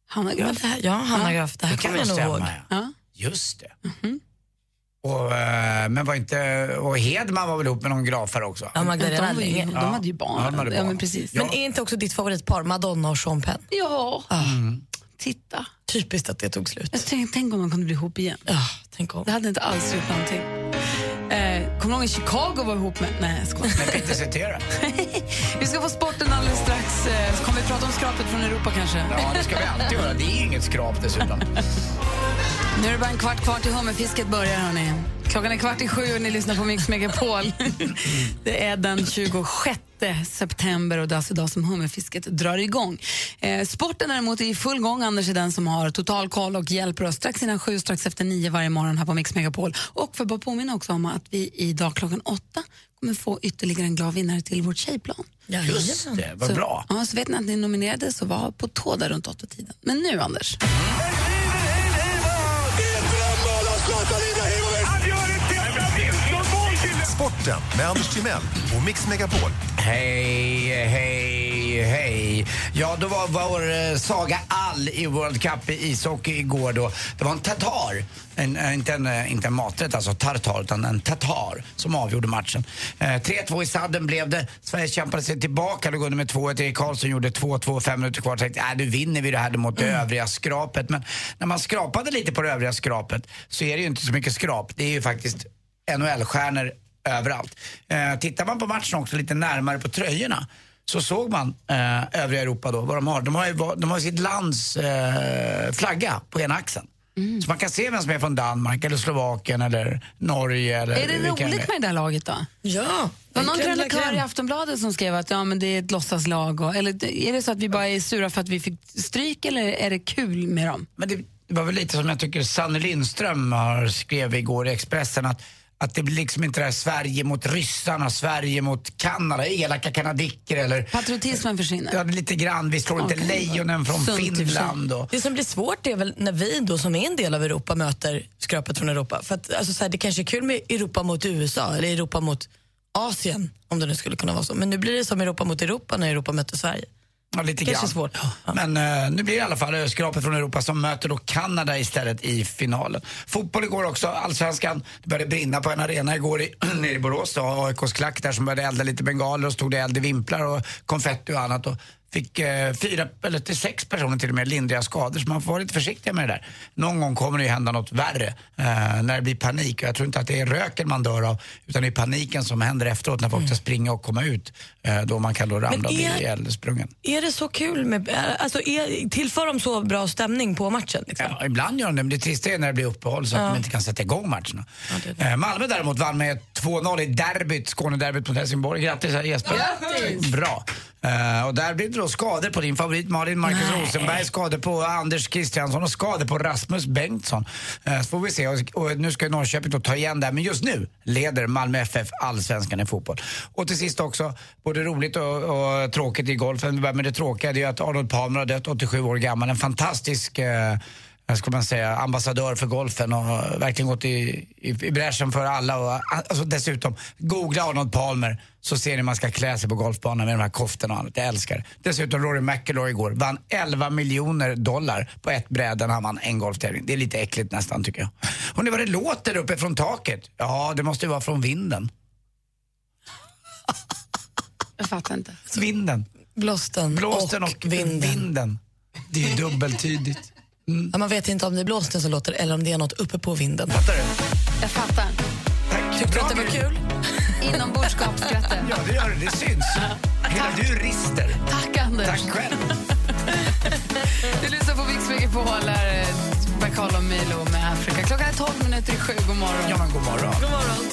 Speaker 5: Hanna
Speaker 7: Men
Speaker 5: Graf?
Speaker 7: det här, ja, Hanna Graf, det här
Speaker 6: det kan
Speaker 7: kommer
Speaker 6: nog
Speaker 7: jag nog
Speaker 6: stämma.
Speaker 7: ihåg.
Speaker 6: ja.
Speaker 5: Ja.
Speaker 6: Just det.
Speaker 5: Mhm.
Speaker 6: Och, eh, men var inte, och Hedman var väl ihop med någon grafare också?
Speaker 7: Ja, Magdalena
Speaker 5: De, var ju,
Speaker 7: Allinge.
Speaker 5: de
Speaker 6: Ja.
Speaker 5: hade ju barn.
Speaker 6: Ja, de hade
Speaker 5: Ja,
Speaker 6: barn.
Speaker 5: men precis.
Speaker 6: Ja.
Speaker 7: Men är inte också ditt favoritpar Madonna och Sean Penn?
Speaker 5: Ja,
Speaker 6: Mm.
Speaker 5: titta.
Speaker 7: Typiskt att det tog slut.
Speaker 5: Jag tänkte, tänk om man kunde bli ihop igen.
Speaker 7: Ja, tänk om.
Speaker 5: Det hade inte alls gjort någonting. Eh, kommer du ihåg att Chicago var ihop med? Nej, jag skojar.
Speaker 6: Men Peter Cetera.
Speaker 5: Vi ska få sporten alldeles strax. Eh, så kommer vi prata om skrapet från Europa kanske?
Speaker 6: Ja, det ska vi alltid göra. Det är inget skrap dessutom.
Speaker 5: Nu är det bara en kvart kvar till hummerfisket börjar. Hörni. Klockan är kvart i sju och ni lyssnar på Mix Megapol. det är den 26 september och det är alltså idag som hummerfisket drar igång. Eh, sporten däremot är i full gång. Anders är den som har total koll och hjälper oss strax innan sju, strax efter nio varje morgon här på Mix Megapol. Och för att bara påminna också om att vi idag klockan åtta kommer få ytterligare en glad vinnare till vårt tjejplan.
Speaker 6: Just det, vad
Speaker 5: Så-
Speaker 6: bra.
Speaker 5: Ja, så vet ni att ni nominerade så var på tå där runt åtta tiden. Men nu Anders.
Speaker 11: Sporten med Anders Timell och Mix Megapol.
Speaker 6: Hej, hej, hej. Ja, då var vår eh, Saga All i World Cup i ishockey igår då. Det var en tatar, en, eh, inte, en, eh, inte en maträtt alltså, tartar, utan en tatar som avgjorde matchen. Eh, 3-2 i sadden blev det. Sverige kämpade sig tillbaka, låg under med 2-1. Erik Karlsson gjorde 2-2, fem minuter kvar. Tänkte, äh, nu vinner vi det här mot det övriga skrapet. Men när man skrapade lite på det övriga skrapet så är det ju inte så mycket skrap. Det är ju faktiskt NHL-stjärnor överallt. Eh, tittar man på matchen också lite närmare på tröjorna så såg man eh, övriga Europa då vad de har. De har ju va- de har sitt lands eh, flagga på ena axeln.
Speaker 5: Mm.
Speaker 6: Så man kan se vem som är från Danmark eller Slovakien eller Norge. Eller
Speaker 5: Är det
Speaker 6: vilken
Speaker 5: roligt med det där laget då?
Speaker 7: Ja,
Speaker 5: Det var någon
Speaker 7: vilken
Speaker 5: krönikör
Speaker 7: lakrem.
Speaker 5: i Aftonbladet som skrev att ja, men det är ett låtsaslag. Och, eller det- är det så att vi bara är sura för att vi fick stryk eller är det kul med dem?
Speaker 6: Men det, det var väl lite som jag tycker Sanne Lindström har skrev igår i Expressen att, att det blir liksom inte det här Sverige mot ryssarna, Sverige mot Kanada, elaka kanadicker eller
Speaker 5: Patriotismen
Speaker 6: ja,
Speaker 5: försvinner.
Speaker 6: lite grann, vi slår inte
Speaker 5: Okej.
Speaker 6: lejonen från
Speaker 5: Sunt typ i och för sig.
Speaker 6: Finland. Och,
Speaker 7: Det som blir svårt är väl när vi då som är en del av Europa möter skrapet från Europa. För att, alltså, så här, det kanske är kul med Europa mot USA eller Europa mot Asien om det nu skulle kunna vara så. Men nu blir det som Europa mot Europa när Europa möter Sverige.
Speaker 6: Ja, lite
Speaker 7: Kanske
Speaker 6: grann.
Speaker 7: svårt.
Speaker 6: Ja. Men eh, nu blir det i alla fall eh, skrapet från Europa som möter då Kanada istället i finalen. Fotboll igår också, allsvenskan. Det började brinna på en arena igår i, (clears throat) nere i Borås. Då, AIKs klack där som började elda lite bengaler och stod det eld i vimplar och konfetti och annat. Och fick eh, fyra, eller till sex personer till och med, lindriga skador. Så man får vara lite försiktig med det där. Någon gång kommer det ju hända något värre eh, när det blir panik. Och Jag tror inte att det är röken man dör av, utan det är paniken som händer efteråt när folk ska springa och komma ut. Eh, då man kan då ramla och bli
Speaker 7: är-
Speaker 6: ihjälsprungen.
Speaker 7: Är det så kul med... är- Alltså, är, tillför de så bra stämning på matchen? Liksom?
Speaker 6: Ja, ibland gör de det, men det trista är när det blir uppehåll så att
Speaker 7: Ja.
Speaker 6: de inte kan sätta igång matcherna. Eh, Malmö däremot vann med 2-0 i derbyt, Skånederbyt mot Helsingborg. Grattis här, Jesper!
Speaker 12: Grattis!
Speaker 6: Bra! Eh, och där blev det då skador på din favorit Malin, Marcus
Speaker 12: Nej.
Speaker 6: Rosenberg, skador på Anders Kristiansson och skador på Rasmus Bengtsson. Eh, så får vi se, och, och nu ska ju Norrköping då ta igen där, men just nu leder Malmö FF allsvenskan i fotboll. Och till sist också, både roligt och, och tråkigt i golfen, vi börjar med det tråkiga, det är ju att Arnold Palmer har dött, 87 år gammal, en fantastisk eh, vad ska man säga, ambassadör för golfen och har verkligen gått i, i, i bräschen för alla. Och, alltså dessutom, googla Arnold Palmer så ser ni hur man ska klä sig på golfbanan med de här koftorna och allt. Jag älskar det. Dessutom Rory McIlroy igår vann 11 miljoner dollar på ett bräde när han vann en golftävling. Det är lite äckligt nästan tycker jag. Och nu vad det låter uppe från taket. Ja, det måste ju vara från vinden.
Speaker 5: Jag fattar inte.
Speaker 6: Vinden.
Speaker 7: Blåsten,
Speaker 6: Blåsten och, vinden. Det är ju dubbeltydigt. Mm.
Speaker 7: Ja, man vet inte om det är blåsten som låter eller om det är något uppe på vinden.
Speaker 6: Fattar du?
Speaker 5: Jag fattar.
Speaker 7: Tyckte du att det var
Speaker 6: (laughs)
Speaker 7: kul?
Speaker 5: Inombordsgapskratte.
Speaker 6: Ja, det gör det. Det
Speaker 5: (laughs)
Speaker 6: syns. Hela du rister.
Speaker 5: Tack, Anders.
Speaker 6: Tack själv.
Speaker 5: (laughs) Du lyssnar på Mix Megapol. Här är Bacall och Milo med Afrika. Klockan är 12 minuter i sju. God morgon.
Speaker 6: Ja, men god morgon.
Speaker 5: God morgon.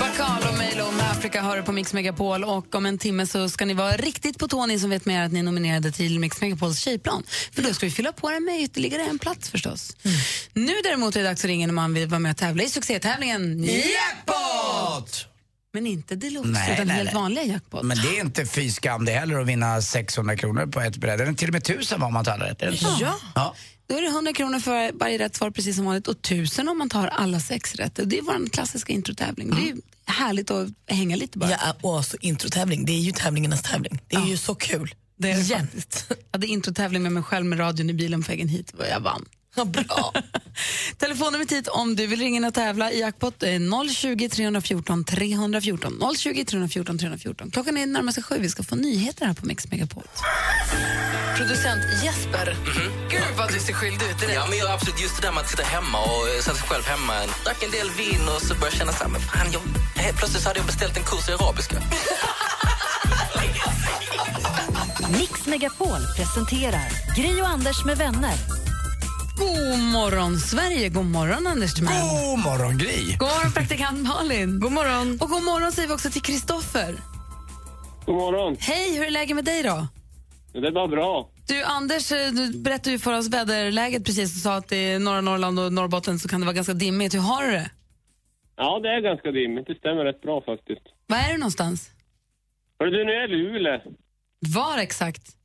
Speaker 5: Bacall och Milo med Afrika hör du på Mix Megapol. Och om en timme så ska ni vara riktigt på tå, ni som vet mer att ni är nominerade till Mix Megapols tjejplan. För då ska vi fylla på den med ytterligare en plats förstås.
Speaker 6: Mm.
Speaker 5: Nu däremot är det dags att ringa när man vill vara med och tävla i succétävlingen
Speaker 6: Jackpot!
Speaker 5: Men inte deluxe,
Speaker 6: Nej,
Speaker 5: utan
Speaker 6: nej,
Speaker 5: helt
Speaker 6: nej.
Speaker 5: vanliga jackpot.
Speaker 6: Men det är inte fy skam det heller att vinna 600 kronor på ett bräde. Eller Till och med 1000 var man tar alla rätt. är det inte så?
Speaker 5: Ja.
Speaker 6: ja.
Speaker 5: Då är det 100 kronor för varje rätt svar precis som vanligt och 1000 om man tar alla sex rätt. Och Det är vår klassiska introtävling. Det är ju härligt att hänga lite bara.
Speaker 7: Mm. Ja, och så introtävling. Det är ju tävlingarnas tävling. Det är ju så kul.
Speaker 5: Det är Jämt. Jag hade introtävling med mig själv med radion i bilen på vägen hit och jag vann.
Speaker 7: bra.
Speaker 5: (laughs) Telefonnumret hit om du vill ringa in och tävla i jackpot är 020 314 314. 020 314 314. Klockan är närmast sju. Vi ska få nyheter här på Mix Megapol. Producent Jesper. Gud vad du ser skyldig ut
Speaker 13: Mhm. Ja, men jag, absolut. Just det där med att sitta hemma och eh, sätta sig själv hemma. Drack en del vin och så började jag känna så här, men fan, jag, helt plötsligt så hade jag beställt en kurs i arabiska.
Speaker 4: Mix Megapol presenterar Gri och Anders med vänner.
Speaker 5: God morgon, Sverige. God morgon, Anders Timell.
Speaker 6: God morgon, Gry.
Speaker 5: God morgon, praktikant Malin. God morgon. Och god morgon säger vi också till Kristoffer.
Speaker 14: God morgon.
Speaker 5: Hej, hur är läget med dig då?
Speaker 14: Det var bra.
Speaker 5: Du, Anders eh, du berättade ju för oss väderläget precis och sa att i norra Norrland och Norrbotten så kan det vara ganska dimmigt. Hur har du det?
Speaker 14: Ja, det är ganska dimmigt. Det stämmer rätt bra faktiskt.
Speaker 5: Var är du någonstans?
Speaker 14: Hörru du, nu är jag i Luleå,
Speaker 5: Var exakt?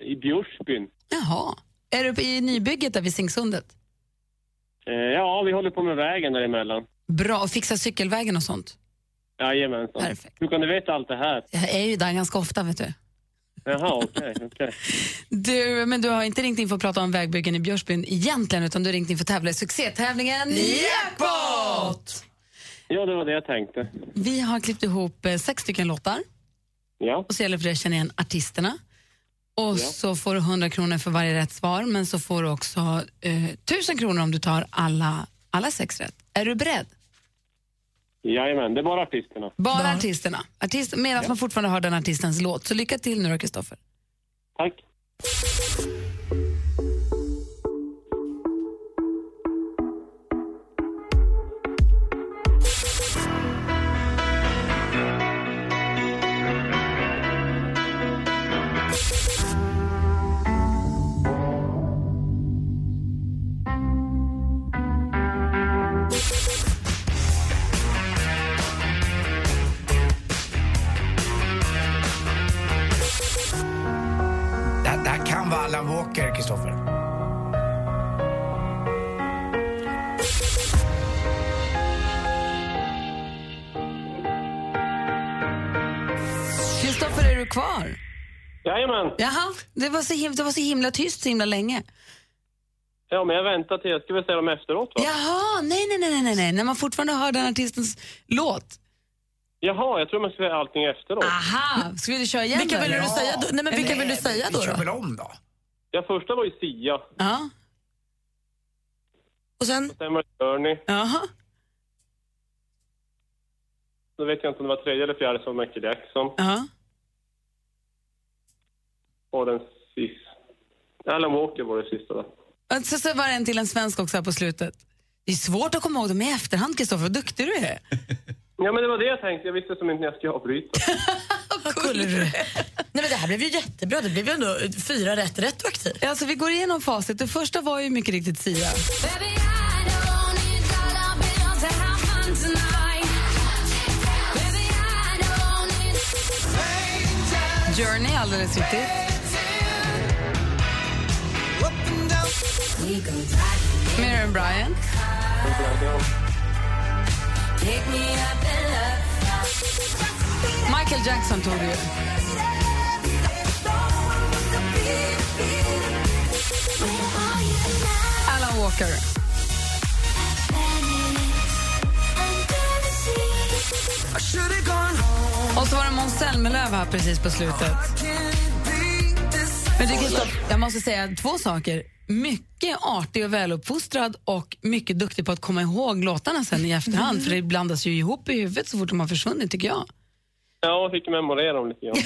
Speaker 14: i Bjursbyn.
Speaker 5: Jaha. Är du uppe i nybygget där vid Singsundet?
Speaker 14: Eh, ja, vi håller på med vägen däremellan.
Speaker 5: Bra, och fixa cykelvägen och sånt.
Speaker 14: Jajamensan.
Speaker 5: Perfekt.
Speaker 14: Hur kan du veta allt det här?
Speaker 5: Jag är ju där ganska ofta, vet du.
Speaker 14: Jaha, okej. okej.
Speaker 5: Du, men du har inte ringt in för att prata om vägbyggen i Björsbyn egentligen, utan du har ringt in för att tävla i succétävlingen Jackpot!
Speaker 14: Ja, det var det jag tänkte.
Speaker 5: Vi har klippt ihop eh, sex stycken låtar
Speaker 14: Ja,
Speaker 5: och så gäller det för dig att känna igen artisterna. Och
Speaker 14: Ja.
Speaker 5: så får du 100 kronor för varje rätt svar, men så får du också eh, 1000 kronor om du tar alla, alla sex rätt. Är du beredd?
Speaker 14: jajamän. Det är bara artisterna.
Speaker 5: Bara artisterna. Artist, Medan man fortfarande hör den artistens låt. Så lycka till nu då, Kristoffer.
Speaker 14: Tack.
Speaker 6: Det, här- det här kan vara Alan Walker, Kristoffer.
Speaker 5: Kristoffer, är du kvar?
Speaker 14: Jajamän.
Speaker 5: Jaha, det var, så himla, det var så himla tyst så himla länge.
Speaker 14: Ja, men jag väntar till... Jag ska väl säga dem efteråt, va?
Speaker 5: Jaha, nej, nej, nej, nej, nej, när man fortfarande hör den artistens låt.
Speaker 14: Jaha, jag tror man ska säga allting efteråt.
Speaker 5: Aha, ska vi köra igen
Speaker 7: Vilka
Speaker 5: då,
Speaker 7: vill
Speaker 5: eller?
Speaker 7: du säga då? Nej, men vilka vill du säga då? då?
Speaker 6: om då?
Speaker 14: Ja, första var ju Sia.
Speaker 5: Ja.
Speaker 7: Och sen?
Speaker 14: Sen var det Journey.
Speaker 5: Jaha.
Speaker 14: Nu vet jag inte om det var tredje eller fjärde som var Michael Jackson.
Speaker 5: Ja.
Speaker 14: Och den sista... Alan Walker var det sista där.
Speaker 5: Så, så var det en till en svensk också här på slutet. Det är svårt att komma ihåg dem i efterhand, Kristoffer. Vad duktig du är.
Speaker 14: Ja, men det var det jag tänkte. Jag visste som inte när jag skulle avbryta.
Speaker 7: Nej, men det här blev ju jättebra. Det blev ju ändå fyra rätt retroaktivt.
Speaker 5: Alltså, vi går igenom facit. Det första var ju mycket riktigt Sia. Journey, alldeles riktigt. Miriam Bryant. Michael Jackson tog du ju. Alan Walker. Och så var det Måns Zelmerlöw här precis på slutet. Men du, Kristoff, jag måste säga två saker. Mycket artig och väluppfostrad och mycket duktig på att komma ihåg låtarna sen i efterhand. För det blandas ju ihop i huvudet så fort de har försvunnit, tycker jag.
Speaker 14: Ja, jag fick memorera dem lite grann.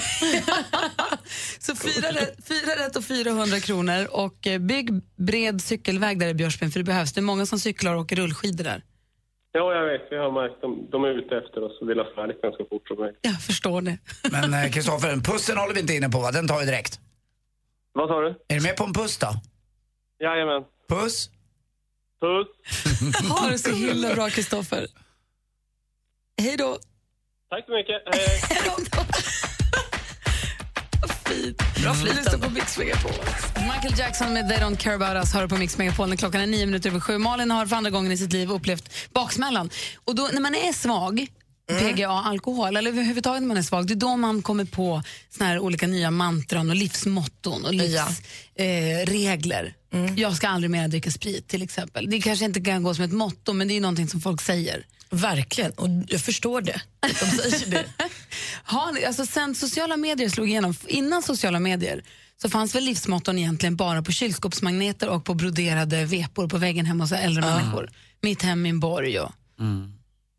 Speaker 5: (laughs) Så fyra rätt, fyra rätt och 400 kronor. Och eh, bygg bred cykelväg där i Björsbyn, för det behövs. Det är många som cyklar och åker rullskidor där.
Speaker 14: Ja, jag vet. Vi har märkt dem. De är ute efter oss och vill ha färdigt ganska fort som möjligt.
Speaker 5: Jag förstår (laughs) det.
Speaker 6: Men Kristoffer, pussen håller vi inte inne på va? Den tar vi direkt.
Speaker 14: Vad sa du?
Speaker 6: Är du med på en puss då?
Speaker 14: Jajamän.
Speaker 6: Puss.
Speaker 5: (laughs)
Speaker 14: Puss.
Speaker 5: Ha det så himla bra, Kristoffer. Hej då.
Speaker 14: Tack så mycket. Hej.
Speaker 5: (laughs) Bra flyt. Lyssna på Mix Megapol. Michael Jackson med They Don't Care About Us hör på Mix Megapol när klockan är nio minuter över sju. Malin har för andra gången i sitt liv upplevt baksmällan. Och då, när man är svag,
Speaker 7: Mm.
Speaker 5: PGA, alkohol, eller överhuvudtaget när man är svag, det är då man kommer på såna här olika nya mantran och livsmotton och livsregler. Eh, regler.
Speaker 7: Mm.
Speaker 5: Jag ska aldrig mer dricka sprit till exempel. Det kanske inte kan gå som ett motto, men det är någonting som folk säger.
Speaker 7: Verkligen, och jag förstår det. De säger det.
Speaker 5: Har ni, alltså sen sociala medier slog igenom, innan sociala medier så fanns väl livsmotton egentligen bara på kylskåpsmagneter och på broderade vepor på väggen hemma hos äldre människor. Mitt hem, min borg och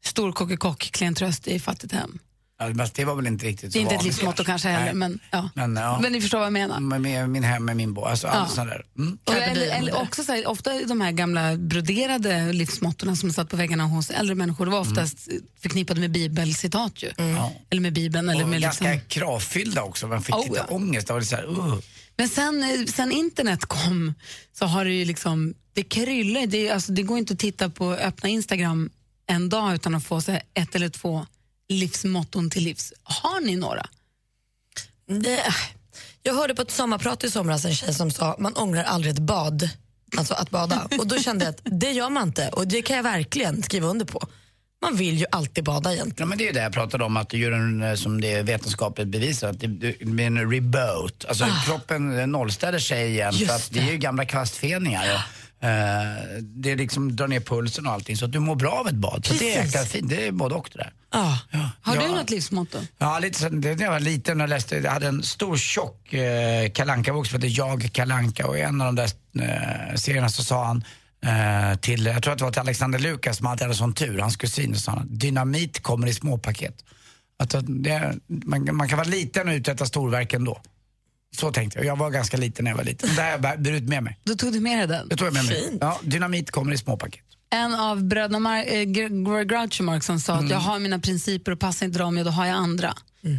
Speaker 5: stor kockekock, klen tröst i fattigt hem.
Speaker 6: Ja, men det var väl inte riktigt så
Speaker 5: Det är inte ett
Speaker 6: vanligt
Speaker 5: livsmotto
Speaker 6: kanske.
Speaker 5: kanske heller,
Speaker 6: Nej.
Speaker 5: men, ja.
Speaker 6: Men, ja.
Speaker 5: men ni förstår vad jag menar.
Speaker 6: Men med min hem med min bo. Alltså
Speaker 5: Ja.
Speaker 6: allt sånt där. Mm.
Speaker 5: Och eller, eller också så här, ofta de här gamla broderade livsmottorna som satt på väggarna hos äldre människor, det var oftast förknippade med bibelcitat ju.
Speaker 6: Ja.
Speaker 5: Eller med bibeln. Eller
Speaker 6: Och
Speaker 5: med
Speaker 6: ganska
Speaker 5: liksom...
Speaker 6: kravfyllda också. Man fick
Speaker 5: Oh,
Speaker 6: lite
Speaker 5: ja.
Speaker 6: ångest. Det var lite så här, uh.
Speaker 5: Men sen, eh, sen internet kom så har det ju liksom, det kryllar, det, är- alltså, det går inte att titta på öppna Instagram en dag utan att få så här, ett eller två livsmotton till livs. Har ni några?
Speaker 7: Det, jag hörde på ett sommarprat i somras en tjej som sa man ångrar aldrig ett bad. Alltså att bada. Och då kände jag att det gör man inte och det kan jag verkligen skriva under på. Man vill ju alltid bada
Speaker 6: Ja,
Speaker 7: egentligen.
Speaker 6: men det är ju det jag pratade om, att juryn eh, som det är vetenskapligt bevisar, att det det blir en reboot. Alltså kroppen eh, nollställer sig igen,
Speaker 12: Just
Speaker 6: för att det är ju gamla kvastfeningar. Och, eh, det är liksom drar ner pulsen och allting, så att du mår bra av ett bad. Så det är
Speaker 5: Precis.
Speaker 6: jäkla fint, det är både och det där.
Speaker 5: Har du
Speaker 6: Ja.
Speaker 5: något livsmotto?
Speaker 6: Ja, lite sen, det- när jag var liten och läste, jag hade en stor tjock eh, kalanka bok som hette Jag Kalanka och i en av de där eh, serierna så sa han eh, till, jag tror att det var till Alexander Lukas som alltid hade sån tur, hans kusin, och sa han, dynamit kommer i små paket. Att att det, man, man kan vara liten och uträtta storverk ändå. Så tänkte jag, jag var ganska liten när jag var liten. Men Det här har jag bär- burit med mig.
Speaker 5: Då tog du med dig den?
Speaker 6: Det tog jag med mig. Ja, dynamit kommer i små paket.
Speaker 5: En av bröderna Mar- eh, Gr- Groucho Marx som sa
Speaker 6: Mm.
Speaker 5: att jag har mina principer och passar inte dem, ja, då har jag andra.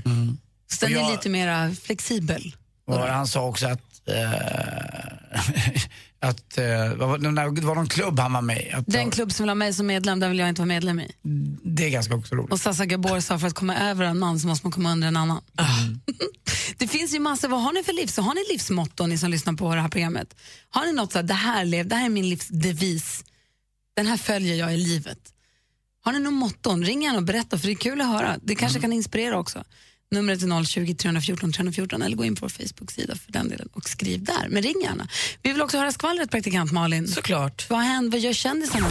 Speaker 6: Mm.
Speaker 5: Så den
Speaker 6: Och
Speaker 5: är
Speaker 6: jag-
Speaker 5: lite mer flexibel.
Speaker 6: Och han sa också att, eh, (laughs) att eh, vad var, det- det var någon klubb han var med i. Att,
Speaker 5: Den klubb som vill ha mig som medlem, den vill jag inte vara medlem i.
Speaker 6: Det är ganska också roligt.
Speaker 5: Och Sasa Gabor sa för att komma över en man så måste man komma under en annan. (laughs) det finns ju massor, vad har ni för livs, har ni livsmotto ni som lyssnar på det här programmet? Har ni något så här, det här, lev, det här är min livsdevis, den här följer jag i livet. Har ni någon motton, ring gärna och berätta för det är kul att höra. Det kanske kan inspirera också. Numret är 020 314 314 eller gå in på vår Facebook-sida för den delen och skriv där. Men ring gärna. Vi vill också höra skvallret, praktikant Malin.
Speaker 7: Såklart.
Speaker 5: Vad händer? Vad gör kändisarna?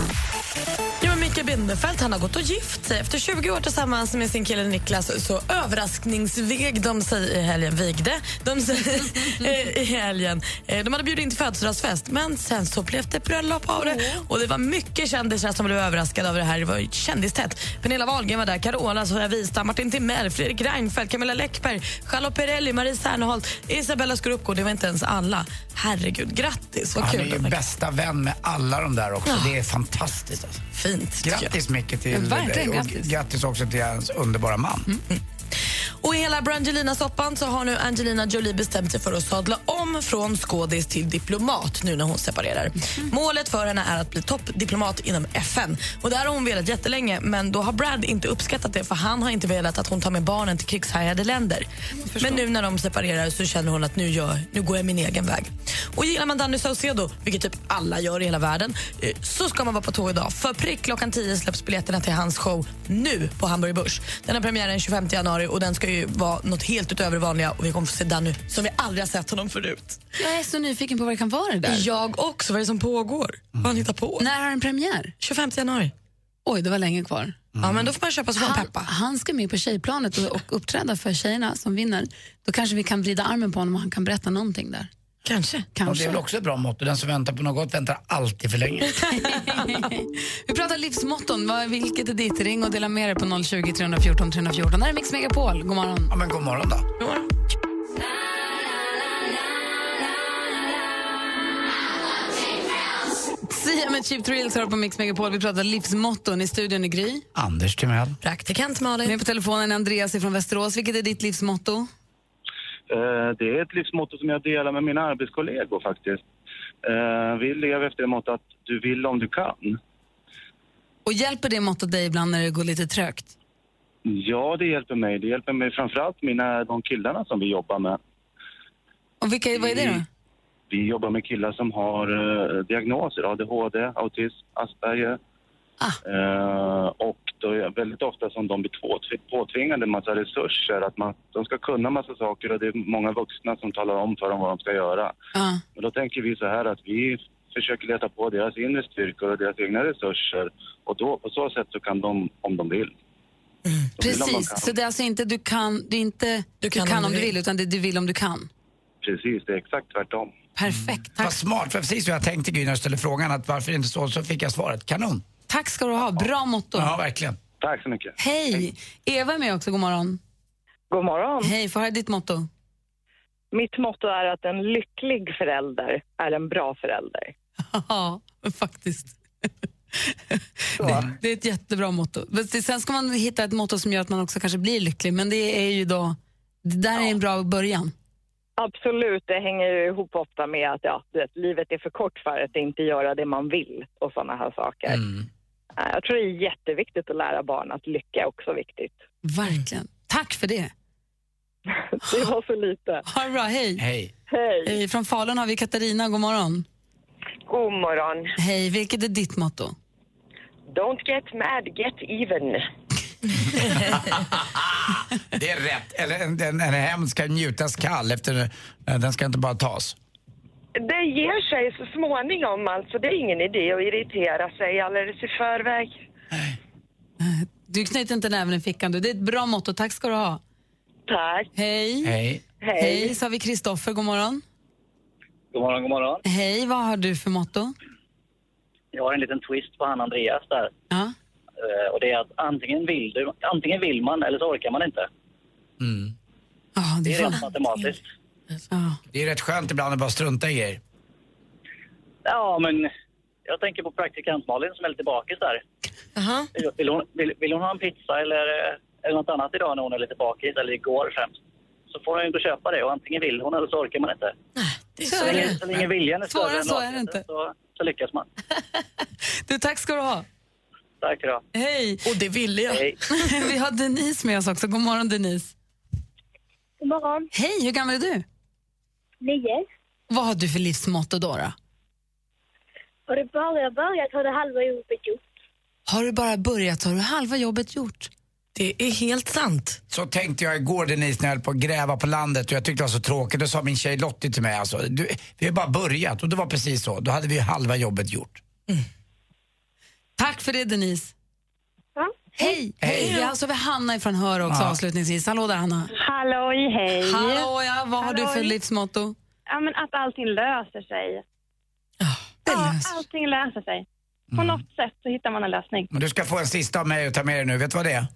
Speaker 7: Ja, men Mikael Bindefeldt han har gått och gift sig. Efter 20 år tillsammans med sin kille Niklas så överraskningsvig de sig i helgen. Vigde de sig eh, i helgen. Eh, De hade bjudit in till födelsedagsfest, men sen så blev det bröllop av det. Och det var mycket kändisar som blev överraskade över det här. Det var ju kändistätt. Pernilla Wahlgren var där, Carola, Sofia Wistam, Martin Timell, Fredrik Reinfeldt, Camilla Läckberg, Charlotte Perrelli, Marie Serneholt, Isabella Scorupco. Det var inte ens alla. Herregud, grattis. Vad
Speaker 6: Han
Speaker 7: kul.
Speaker 6: är ju
Speaker 7: de verkar-
Speaker 6: bästa vän med alla de där också.
Speaker 7: Ja.
Speaker 6: Det är fantastiskt. Alltså.
Speaker 7: Fint.
Speaker 6: Grattis Micke till
Speaker 7: Ja, verkligen,
Speaker 6: dig och
Speaker 7: grattis. Mm,
Speaker 6: grattis också till hans underbara man.
Speaker 7: Och i hela Brangelina-soppan så har nu Angelina Jolie bestämt sig för att sadla om från skådis till diplomat nu när hon separerar. Målet för henne är att bli toppdiplomat inom FN. Och Där har hon velat jättelänge, men då har Brad inte uppskattat det för han har inte velat att hon tar med barnen till krigshärjade länder. Men nu när de separerar så känner hon att nu, gör, nu går jag min egen väg. Och gillar man Danny Saucedo, vilket typ alla gör i hela världen, eh, så ska man vara på tå idag. För prick klockan 10 släpps biljetterna till hans show nu på Hamburg Börs. Den har premiär den 25 januari och den ska ju vara något helt utöver det vanliga och vi kommer få se Danny som vi aldrig har sett honom förut.
Speaker 5: Jag är så nyfiken på vad det kan vara det där.
Speaker 7: Jag också, vad är det som pågår? Vad han hittar på?
Speaker 5: När har den premiär?
Speaker 7: 25 januari.
Speaker 5: Oj, det var länge kvar.
Speaker 7: Ja, men då får man köpa sig en
Speaker 5: han,
Speaker 7: peppa.
Speaker 5: han ska med på tjejplanet och, och uppträda för tjejerna som vinner. Då kanske vi kan vrida armen på honom och han kan berätta någonting där.
Speaker 7: Kanske.
Speaker 6: Och det är
Speaker 5: Kanske.
Speaker 6: väl också ett bra motto. Den som väntar på något väntar alltid för
Speaker 7: (laughs)
Speaker 6: länge.
Speaker 5: Vi pratar livsmotton. Vad- Vilket är ditt? Ring och dela med dig på 020 314 314. Det här är Mix Megapol. God morgon.
Speaker 6: Ja, men god morgon då.
Speaker 5: Sia med Cheap Thrills hör på Mix Megapol. Vi pratar livsmotton. I studion är Gry.
Speaker 6: Anders Timell.
Speaker 7: Praktikant Malin.
Speaker 5: Med på telefonen är Andreas från Västerås. Vilket är ditt livsmotto?
Speaker 4: Eh, Det är ett livsmotto som jag delar med mina arbetskollegor faktiskt. Eh, Vi lever efter det mottot att du vill om du kan.
Speaker 5: Och hjälper det mottot dig ibland när det går lite trögt?
Speaker 4: Ja, det hjälper mig. Det hjälper mig framförallt mina, de killarna som vi jobbar med.
Speaker 5: Och vilka, vad är det då?
Speaker 4: Vi jobbar med killar som har eh, diagnoser, ADHD, autism, Asperger. Eh, och då är det väldigt ofta som de blir påtv- påtvingade en massa resurser. Att man, de ska kunna massa saker och det är många vuxna som talar om för dem vad de ska göra. Men då tänker vi så här att vi försöker leta på deras inre styrkor och deras egna resurser. Och då, på så sätt så kan de, om de vill. De vill om de kan.
Speaker 5: Precis, så det är alltså inte du kan, det är inte, du kan, om du vill, utan det är du vill om du kan.
Speaker 4: Precis, det är exakt tvärtom.
Speaker 5: Perfekt.
Speaker 6: Vad smart, för precis vad jag tänkte Gry när jag ställde frågan att varför inte så, så fick jag svaret. Kanon.
Speaker 5: Tack ska du ha, bra motto.
Speaker 6: Ja, verkligen.
Speaker 4: Tack så mycket.
Speaker 5: Hej! Eva är med också, god morgon.
Speaker 10: God morgon.
Speaker 5: Hej, får jag höra ditt motto? (laughs)
Speaker 10: Mitt motto är att en lycklig förälder är en bra förälder.
Speaker 5: Ja, faktiskt. Det, det är ett jättebra motto. Men det- Sen ska man hitta ett motto som gör att man också kanske blir lycklig, men det är ju då, det där är en bra början.
Speaker 10: Absolut, det hänger ju ihop ofta med att ja, du vet, livet är för kort för att inte göra det man vill och sådana här saker. Eh, Jag tror det är jätteviktigt att lära barn att lycka är också viktigt.
Speaker 5: Verkligen. Tack för det.
Speaker 10: Det var så lite.
Speaker 5: Ha det bra, hej. Eh,
Speaker 6: Hej.
Speaker 10: Hej.
Speaker 5: Från Falun har vi Katarina, god morgon.
Speaker 15: God morgon.
Speaker 5: Hej, vilket är ditt motto?
Speaker 15: Don't get mad, get
Speaker 10: (laughs)
Speaker 15: even.
Speaker 6: Det är rätt. Eller en, en, en hem ska njutas kall, efter, eh, den ska inte bara tas.
Speaker 15: Det ger sig så småningom, alltså. Det är ingen idé att irritera sig alldeles i förväg.
Speaker 5: Du knyter inte näven i fickan du. Det är ett bra motto. Tack ska du ha.
Speaker 15: Tack.
Speaker 5: Hej.
Speaker 6: Hej.
Speaker 5: Hej. så har vi Kristoffer. God morgon.
Speaker 16: God morgon, god morgon.
Speaker 5: Hej, vad har du för motto?
Speaker 16: Jag har en liten twist på han Andreas där.
Speaker 5: Ja.
Speaker 16: Eh, Och det är att antingen vill, du, antingen vill man eller så orkar man inte.
Speaker 6: Mm.
Speaker 5: Ja,
Speaker 16: Det är
Speaker 5: fan-
Speaker 16: rent matematiskt.
Speaker 5: Ja.
Speaker 6: Det är rätt skönt ibland att bara strunta i grejer.
Speaker 16: Ja, men jag tänker på praktikant Malin som är lite bakis där. Vill, vill, hon, vill, vill hon ha en pizza eller, eh, eller något annat idag när hon är lite bakis, eller igår främst, så får hon ju gå och köpa det. Och antingen vill hon eller så orkar man inte. så länge, så länge viljan är större
Speaker 5: Svårare
Speaker 16: än
Speaker 5: så är det inte.
Speaker 16: lagligheten Så, så lyckas man.
Speaker 5: (laughs) Du, tack ska du ha.
Speaker 16: Tack då.
Speaker 5: Hej.
Speaker 7: Och det ville jag.
Speaker 5: (laughs) vi har Denise med oss också. God morgon, Denise.
Speaker 17: God morgon.
Speaker 5: Hej, hur gammal är du?
Speaker 17: Nio.
Speaker 5: Vad har du för livsmotto då? då?
Speaker 17: Har du bara börjat har du halva jobbet gjort.
Speaker 5: Har du bara börjat så har du halva jobbet gjort.
Speaker 7: Det är helt sant.
Speaker 6: Så tänkte jag igår Denise när jag höll på att gräva på landet och jag tyckte det var så tråkigt. Då sa min tjej Lottie till mig alltså, du, vi har bara börjat och det var precis så. Då hade vi halva jobbet gjort.
Speaker 5: Tack för det, Denise. Hej!
Speaker 6: Hej.
Speaker 5: Vi har alltså vi Hanna ifrån Hör också
Speaker 18: Ja.
Speaker 5: avslutningsvis. Hallå där, Hanna.
Speaker 18: Halloj, hej.
Speaker 5: Hallå, ja. Vad har du för
Speaker 18: Halloj.
Speaker 5: livsmotto?
Speaker 18: Ja, men att allting löser sig. Ja, allting löser sig. På något sätt så hittar man en lösning.
Speaker 6: Men du ska få en sista av mig och ta med dig nu. Vet du vad det är?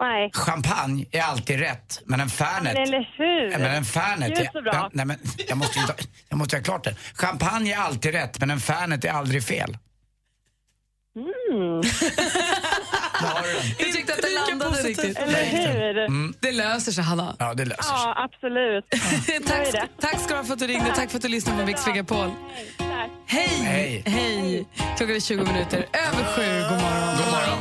Speaker 18: Nej.
Speaker 6: Champagne är alltid rätt, men en Fernet...
Speaker 18: Men eller hur?
Speaker 6: Nej, men en Fernet...
Speaker 18: Gud, så bra.
Speaker 6: Jag, nej, men jag måste ju ta, jag måste ha klart det. Champagne är alltid rätt, men en Fernet är aldrig fel.
Speaker 18: Mm.
Speaker 5: Du tyckte att det landade riktigt.
Speaker 18: Eller hur?
Speaker 5: Det löser sig, Hanna.
Speaker 6: Ja, det löser
Speaker 18: Ja, absolut.
Speaker 5: (laughs) tack, tack ska du ha för att du ringde. Tack för att du lyssnade på Mix Megapol. Hej!
Speaker 6: Hej.
Speaker 5: Hej! Klockan är 20 minuter över sju. God morgon.
Speaker 6: God morgon.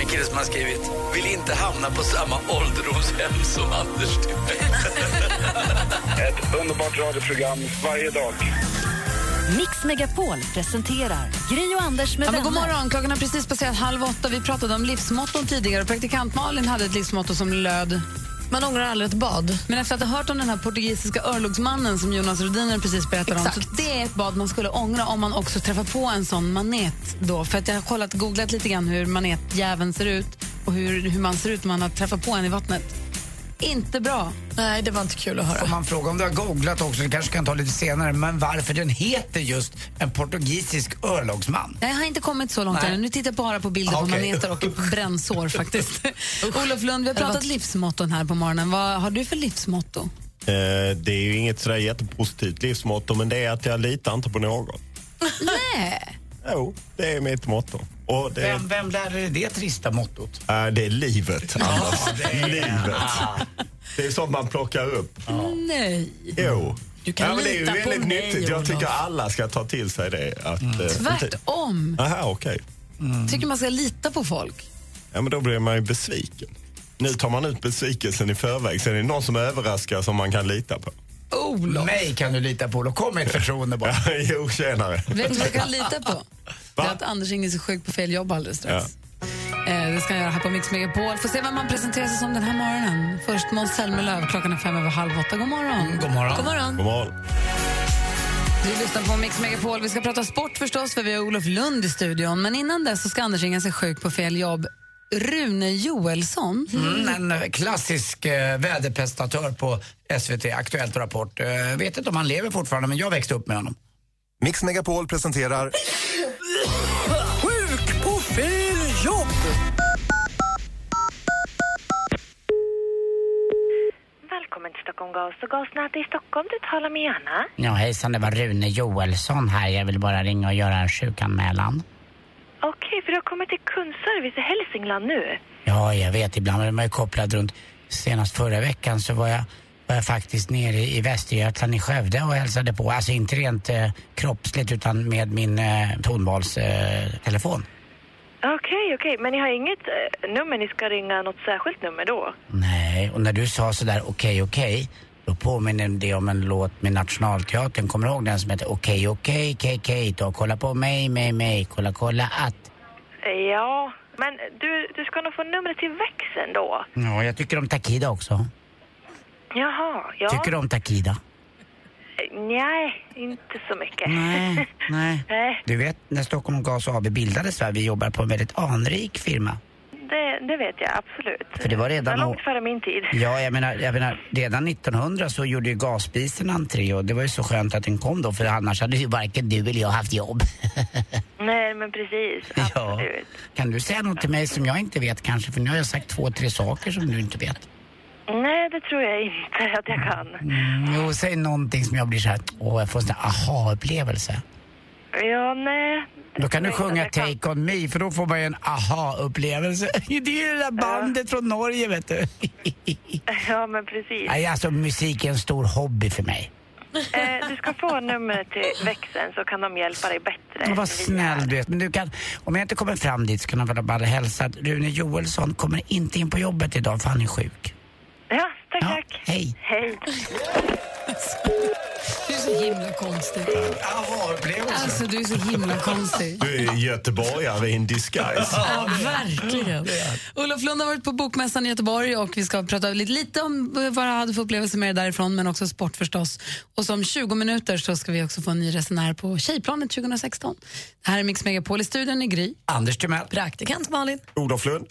Speaker 6: En kille som har skrivit Vill inte hamna på samma ålderdomshem som Anders
Speaker 10: (laughs) Ett underbart radioprogram varje dag.
Speaker 4: Mix Megapol presenterar Gri och Anders med
Speaker 5: Ja, men
Speaker 4: vänner.
Speaker 5: god morgon. Klockan har precis passerat halv åtta. Vi pratade om livsmotton tidigare. och Praktikant Malin hade ett livsmotto som löd... Man ångrar aldrig ett bad. Men efter att ha hört om den här portugisiska örlogsmannen som Jonas Rhodiner precis berättade om, så det är ett bad man skulle ångra om man också träffar på en sån manet. Då. För att jag har kollat, googlat lite grann hur manetjäveln ser ut och hur, hur man ser ut när man har träffat på en i vattnet. Inte bra.
Speaker 7: Nej, det var inte kul att
Speaker 6: Får man fråga om du har googlat också, det kanske kan ta lite senare, men varför den heter just en portugisisk örlogsman?
Speaker 5: Nej, jag har inte kommit så långt
Speaker 6: Nej.
Speaker 5: än. Nu tittar jag bara på bilder på
Speaker 6: Okej.
Speaker 5: maneter
Speaker 19: (laughs)
Speaker 5: och brännsår faktiskt. Olof Lund, vi har
Speaker 19: Det var-
Speaker 5: pratat livsmotton här på morgonen. Vad har du för livsmotto?
Speaker 19: Eh, Det är ju inget sådär jättepositivt livsmotto, men det är att jag litar inte på någon.
Speaker 5: Nej.
Speaker 19: Jo, det är mitt motto. Och det,
Speaker 6: Vem, vem lärde dig det trista mottot?
Speaker 19: Eh, det är livet, Anders. livet. Det är sånt man plockar upp.
Speaker 5: Nej.
Speaker 19: Jo.
Speaker 5: Du kan
Speaker 19: ja, men det är
Speaker 5: lita
Speaker 19: ju
Speaker 5: på
Speaker 19: väldigt
Speaker 5: mig,
Speaker 19: nyttigt. Jag
Speaker 5: Olof.
Speaker 19: tycker alla ska ta till sig det. Att, mm.
Speaker 5: Tvärtom. Mm.
Speaker 19: Aha, okej.
Speaker 5: Tycker man ska lita på folk?
Speaker 19: Ja, men då blir man ju besviken. Nu tar man ut besvikelsen i förväg. Sen är det någon som överraskar som man kan lita på.
Speaker 5: Olof.
Speaker 6: Mig kan du lita på, Olof. Kom med ett förtroende bara.
Speaker 19: (laughs) jo, tjenare.
Speaker 5: Vet du vad jag kan lita på? Det är att Anders ringer sig sjuk på fel jobb alldeles strax. Eh, det ska jag göra här på Mix Megapol. Får se vem man presenterar sig som den här morgonen. Först Måns Zelmerlöw, klockan är fem över halv åtta. God morgon.
Speaker 6: God morgon.
Speaker 5: God morgon.
Speaker 19: God morgon.
Speaker 5: Du lyssnar på Mix Megapol. Vi ska prata sport förstås, för vi har Olof Lund i studion. Men innan dess så ska Anders ringa sig sjuk på fel jobb. Rune Joelsson.
Speaker 6: Mm, en klassisk eh, väderprestatör på SVT, Aktuellt och Rapport. Eh, vet inte om han lever fortfarande, men jag växte upp med honom.
Speaker 11: Mix Megapol presenterar
Speaker 1: Sjuk på fel jobb!
Speaker 20: Välkommen till Stockholm Gas och gasnät i Stockholm. Du talar med Anna.
Speaker 21: Ja, hejsan, det var Rune Joelsson här. Jag vill bara ringa och göra en sjukanmälan.
Speaker 20: Okej, för du har kommit till kundservice i Hälsingland nu.
Speaker 21: Ja, jag vet, ibland är man ju kopplad runt. Senast förra veckan så var jag, var jag faktiskt nere i Västergötland i Skövde och hälsade på. Alltså inte rent eh, kroppsligt utan med min eh, tonvalstelefon. Eh, telefon.
Speaker 20: Okej, okej, men ni har inget eh, nummer ni ska ringa något särskilt nummer då?
Speaker 21: Nej, och när du sa sådär okej, okej, då påminner det om en låt med Nationalteatern. Kommer du ihåg den som heter Okej, okej, okej, okej då? Kolla på mig, mig, mig, kolla, kolla att.
Speaker 20: Eh, Ja, men du, du ska nog få numret till växeln då.
Speaker 21: Ja, jag tycker om Takida också.
Speaker 20: Jaha, ja.
Speaker 21: Tycker du om Takida?
Speaker 20: Eh, Nej, inte så mycket.
Speaker 21: Nej, nej.
Speaker 20: (laughs) Nej,
Speaker 21: Du vet, när Stockholm Gas AB bildades, va, vi jobbar på en väldigt anrik firma.
Speaker 20: det, det vet jag absolut.
Speaker 21: För det var
Speaker 20: Det var
Speaker 21: redan...
Speaker 20: långt före min tid.
Speaker 21: Ja, jag menar, jag menar, redan 1900 så gjorde ju gasspisen entré och det var ju så skönt att den kom då för annars hade ju varken du eller jag haft jobb. (laughs)
Speaker 20: Nej, men precis.
Speaker 21: ja. Kan du säga något till mig som jag inte vet kanske? För nu har jag sagt två, tre saker som du inte vet.
Speaker 20: Nej, det tror jag inte att jag kan.
Speaker 21: Mm, jo, säg någonting som jag blir så här, åh, jag får en sån här aha-upplevelse.
Speaker 20: Ja, nej.
Speaker 21: Då kan du sjunga Take On Me för då får man ju en aha-upplevelse. (laughs) Det är ju det där bandet från Norge vet du.
Speaker 20: Ja, men precis.
Speaker 21: Nej, alltså musik är en stor hobby för mig.
Speaker 20: Eh, du ska få numret till växeln så kan de hjälpa dig bättre.
Speaker 21: Men vad snäll du är. Men du kan, om jag inte kommer fram dit så kan jag väl bara hälsa att Rune Joelsson kommer inte in på jobbet idag för han är sjuk.
Speaker 5: (laughs)
Speaker 20: Ja, tack, tack.
Speaker 21: Hej.
Speaker 20: Hej.
Speaker 5: Du är så himla konstig.
Speaker 6: Aha-upplevelse.
Speaker 5: Alltså, du är så himla konstig.
Speaker 19: Du är göteborgare in disguise.
Speaker 5: (laughs) Ja, verkligen. Olof Lund har varit på Bokmässan i Göteborg och vi ska prata lite, lite om vad jag hade för upplevelser med det därifrån, men också sport förstås. Och som 20 minuter så ska vi också få en ny resenär på Tjejplanet 2016. Det här är Mix Megapol i studion i Gry.
Speaker 6: Anders Timell.
Speaker 5: Praktikant Malin.
Speaker 19: Olof Lund.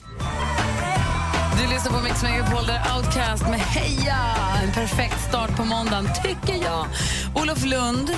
Speaker 5: Du lyssnar på Mix Megapol där Outcast med Heja! En perfekt start på måndagen, tycker jag. Olof Lund,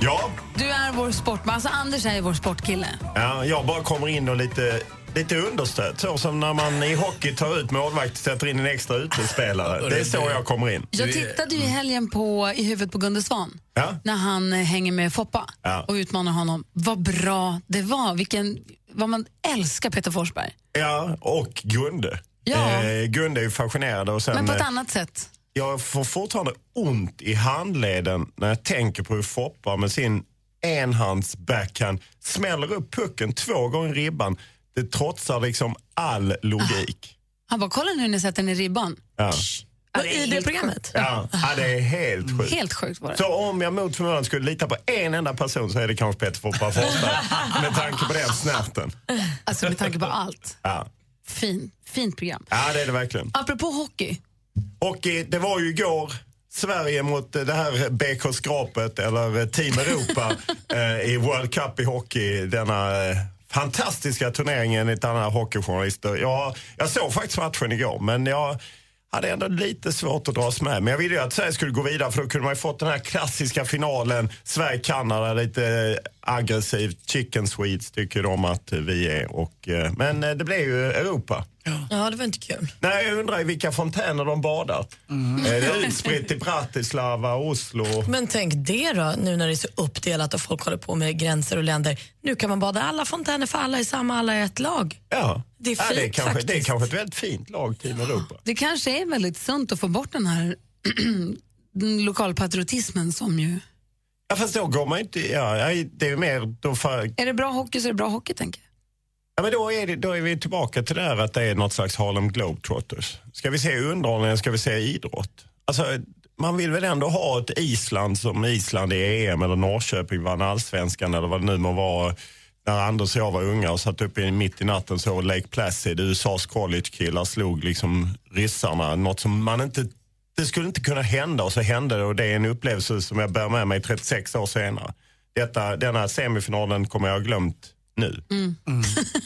Speaker 19: Ja,
Speaker 5: du är vår sportman. Alltså Anders är vår sportkille.
Speaker 19: Ja, jag bara kommer in och lite, lite understöd. Så som när man i hockey tar ut målvakt och sätter in en extra utespelare. Det är så jag kommer in.
Speaker 5: Jag tittade ju i helgen på I huvudet på Gunde Svan
Speaker 19: Ja.
Speaker 5: när han eh, hänger med Foppa
Speaker 19: Ja.
Speaker 5: och utmanar honom. Vad bra det var. Vilken, vad man älskar Peter Forsberg.
Speaker 19: Ja, och Gunde.
Speaker 5: Ja.
Speaker 19: Eh, Gunde är ju fascinerande. Och sen,
Speaker 5: Men på ett
Speaker 19: eh,
Speaker 5: annat sätt.
Speaker 19: Jag får fortfarande ont i handleden när jag tänker på hur Foppa med sin enhands backhand smäller upp pucken två gånger i ribban. Det trotsar liksom all logik.
Speaker 5: Han bara, kolla nu när ni sätter den i ribban.
Speaker 19: Ja.
Speaker 5: I det programmet?
Speaker 19: Ja. ja, det är helt sjukt.
Speaker 5: Helt sjukt var det.
Speaker 19: Så om jag mot förmodan skulle lita på en enda person så är det kanske Peter
Speaker 5: (laughs)
Speaker 19: Foppa Forsberg. med tanke på den snärten.
Speaker 5: Alltså med tanke på allt.
Speaker 19: Ja.
Speaker 5: Fin, fint program.
Speaker 19: ja, det är det verkligen.
Speaker 5: Apropå hockey.
Speaker 19: Och eh, det var ju igår Sverige mot eh, det här BK Skrapet eller eh, Team Europa eh, i World Cup i hockey. Denna eh, fantastiska turnering enligt andra hockeyjournalister. Jag, jag såg faktiskt matchen igår men jag hade ändå lite svårt att dras med. Men jag ville ju att Sverige skulle gå vidare för då kunde man ju fått den här klassiska finalen. Sverige-Kanada lite eh, aggressivt. Chicken Swedes tycker de att eh, vi är. Och, eh, men eh, det blev ju Europa.
Speaker 7: Ja, det var inte kul.
Speaker 19: Nej, jag undrar i vilka fontäner de badar. Eh, Det är utspritt i Bratislava, Oslo.
Speaker 7: Mm. Men tänk det då, nu när det är så uppdelat och folk håller på med gränser och länder. Nu kan man bada i alla fontäner för alla är samma, alla är ett lag.
Speaker 19: Ja.
Speaker 7: Det är
Speaker 19: ja, det, är
Speaker 7: fint
Speaker 19: kanske, det är
Speaker 7: faktiskt.
Speaker 19: kanske ett väldigt fint lag, Team Europa.
Speaker 5: Det kanske är väldigt sunt att få bort den här (clears throat) lokalpatriotismen som ju...
Speaker 19: Ja, fast då går man ju inte... Ja, nej, det är ju mer... Då, för,
Speaker 5: Är det bra hockey så är det bra hockey, tänker jag.
Speaker 19: ja, men då, är det, då är vi tillbaka till det här att det är något slags Harlem Globetrotters. Ska vi se underhållning eller ska vi se idrott? Alltså, man vill väl ändå ha ett Island som Island i EM eller Norrköping vann allsvenskan eller vad det nu må vara. När Anders och jag var unga och satt uppe i- mitt i natten så Lake Placid, USAs collegekillar slog liksom ryssarna. Något som man inte... Det skulle inte kunna hända och så hände det och det är en upplevelse som jag bär med mig 36 år senare. Detta, denna semifinalen kommer jag ha glömt nu.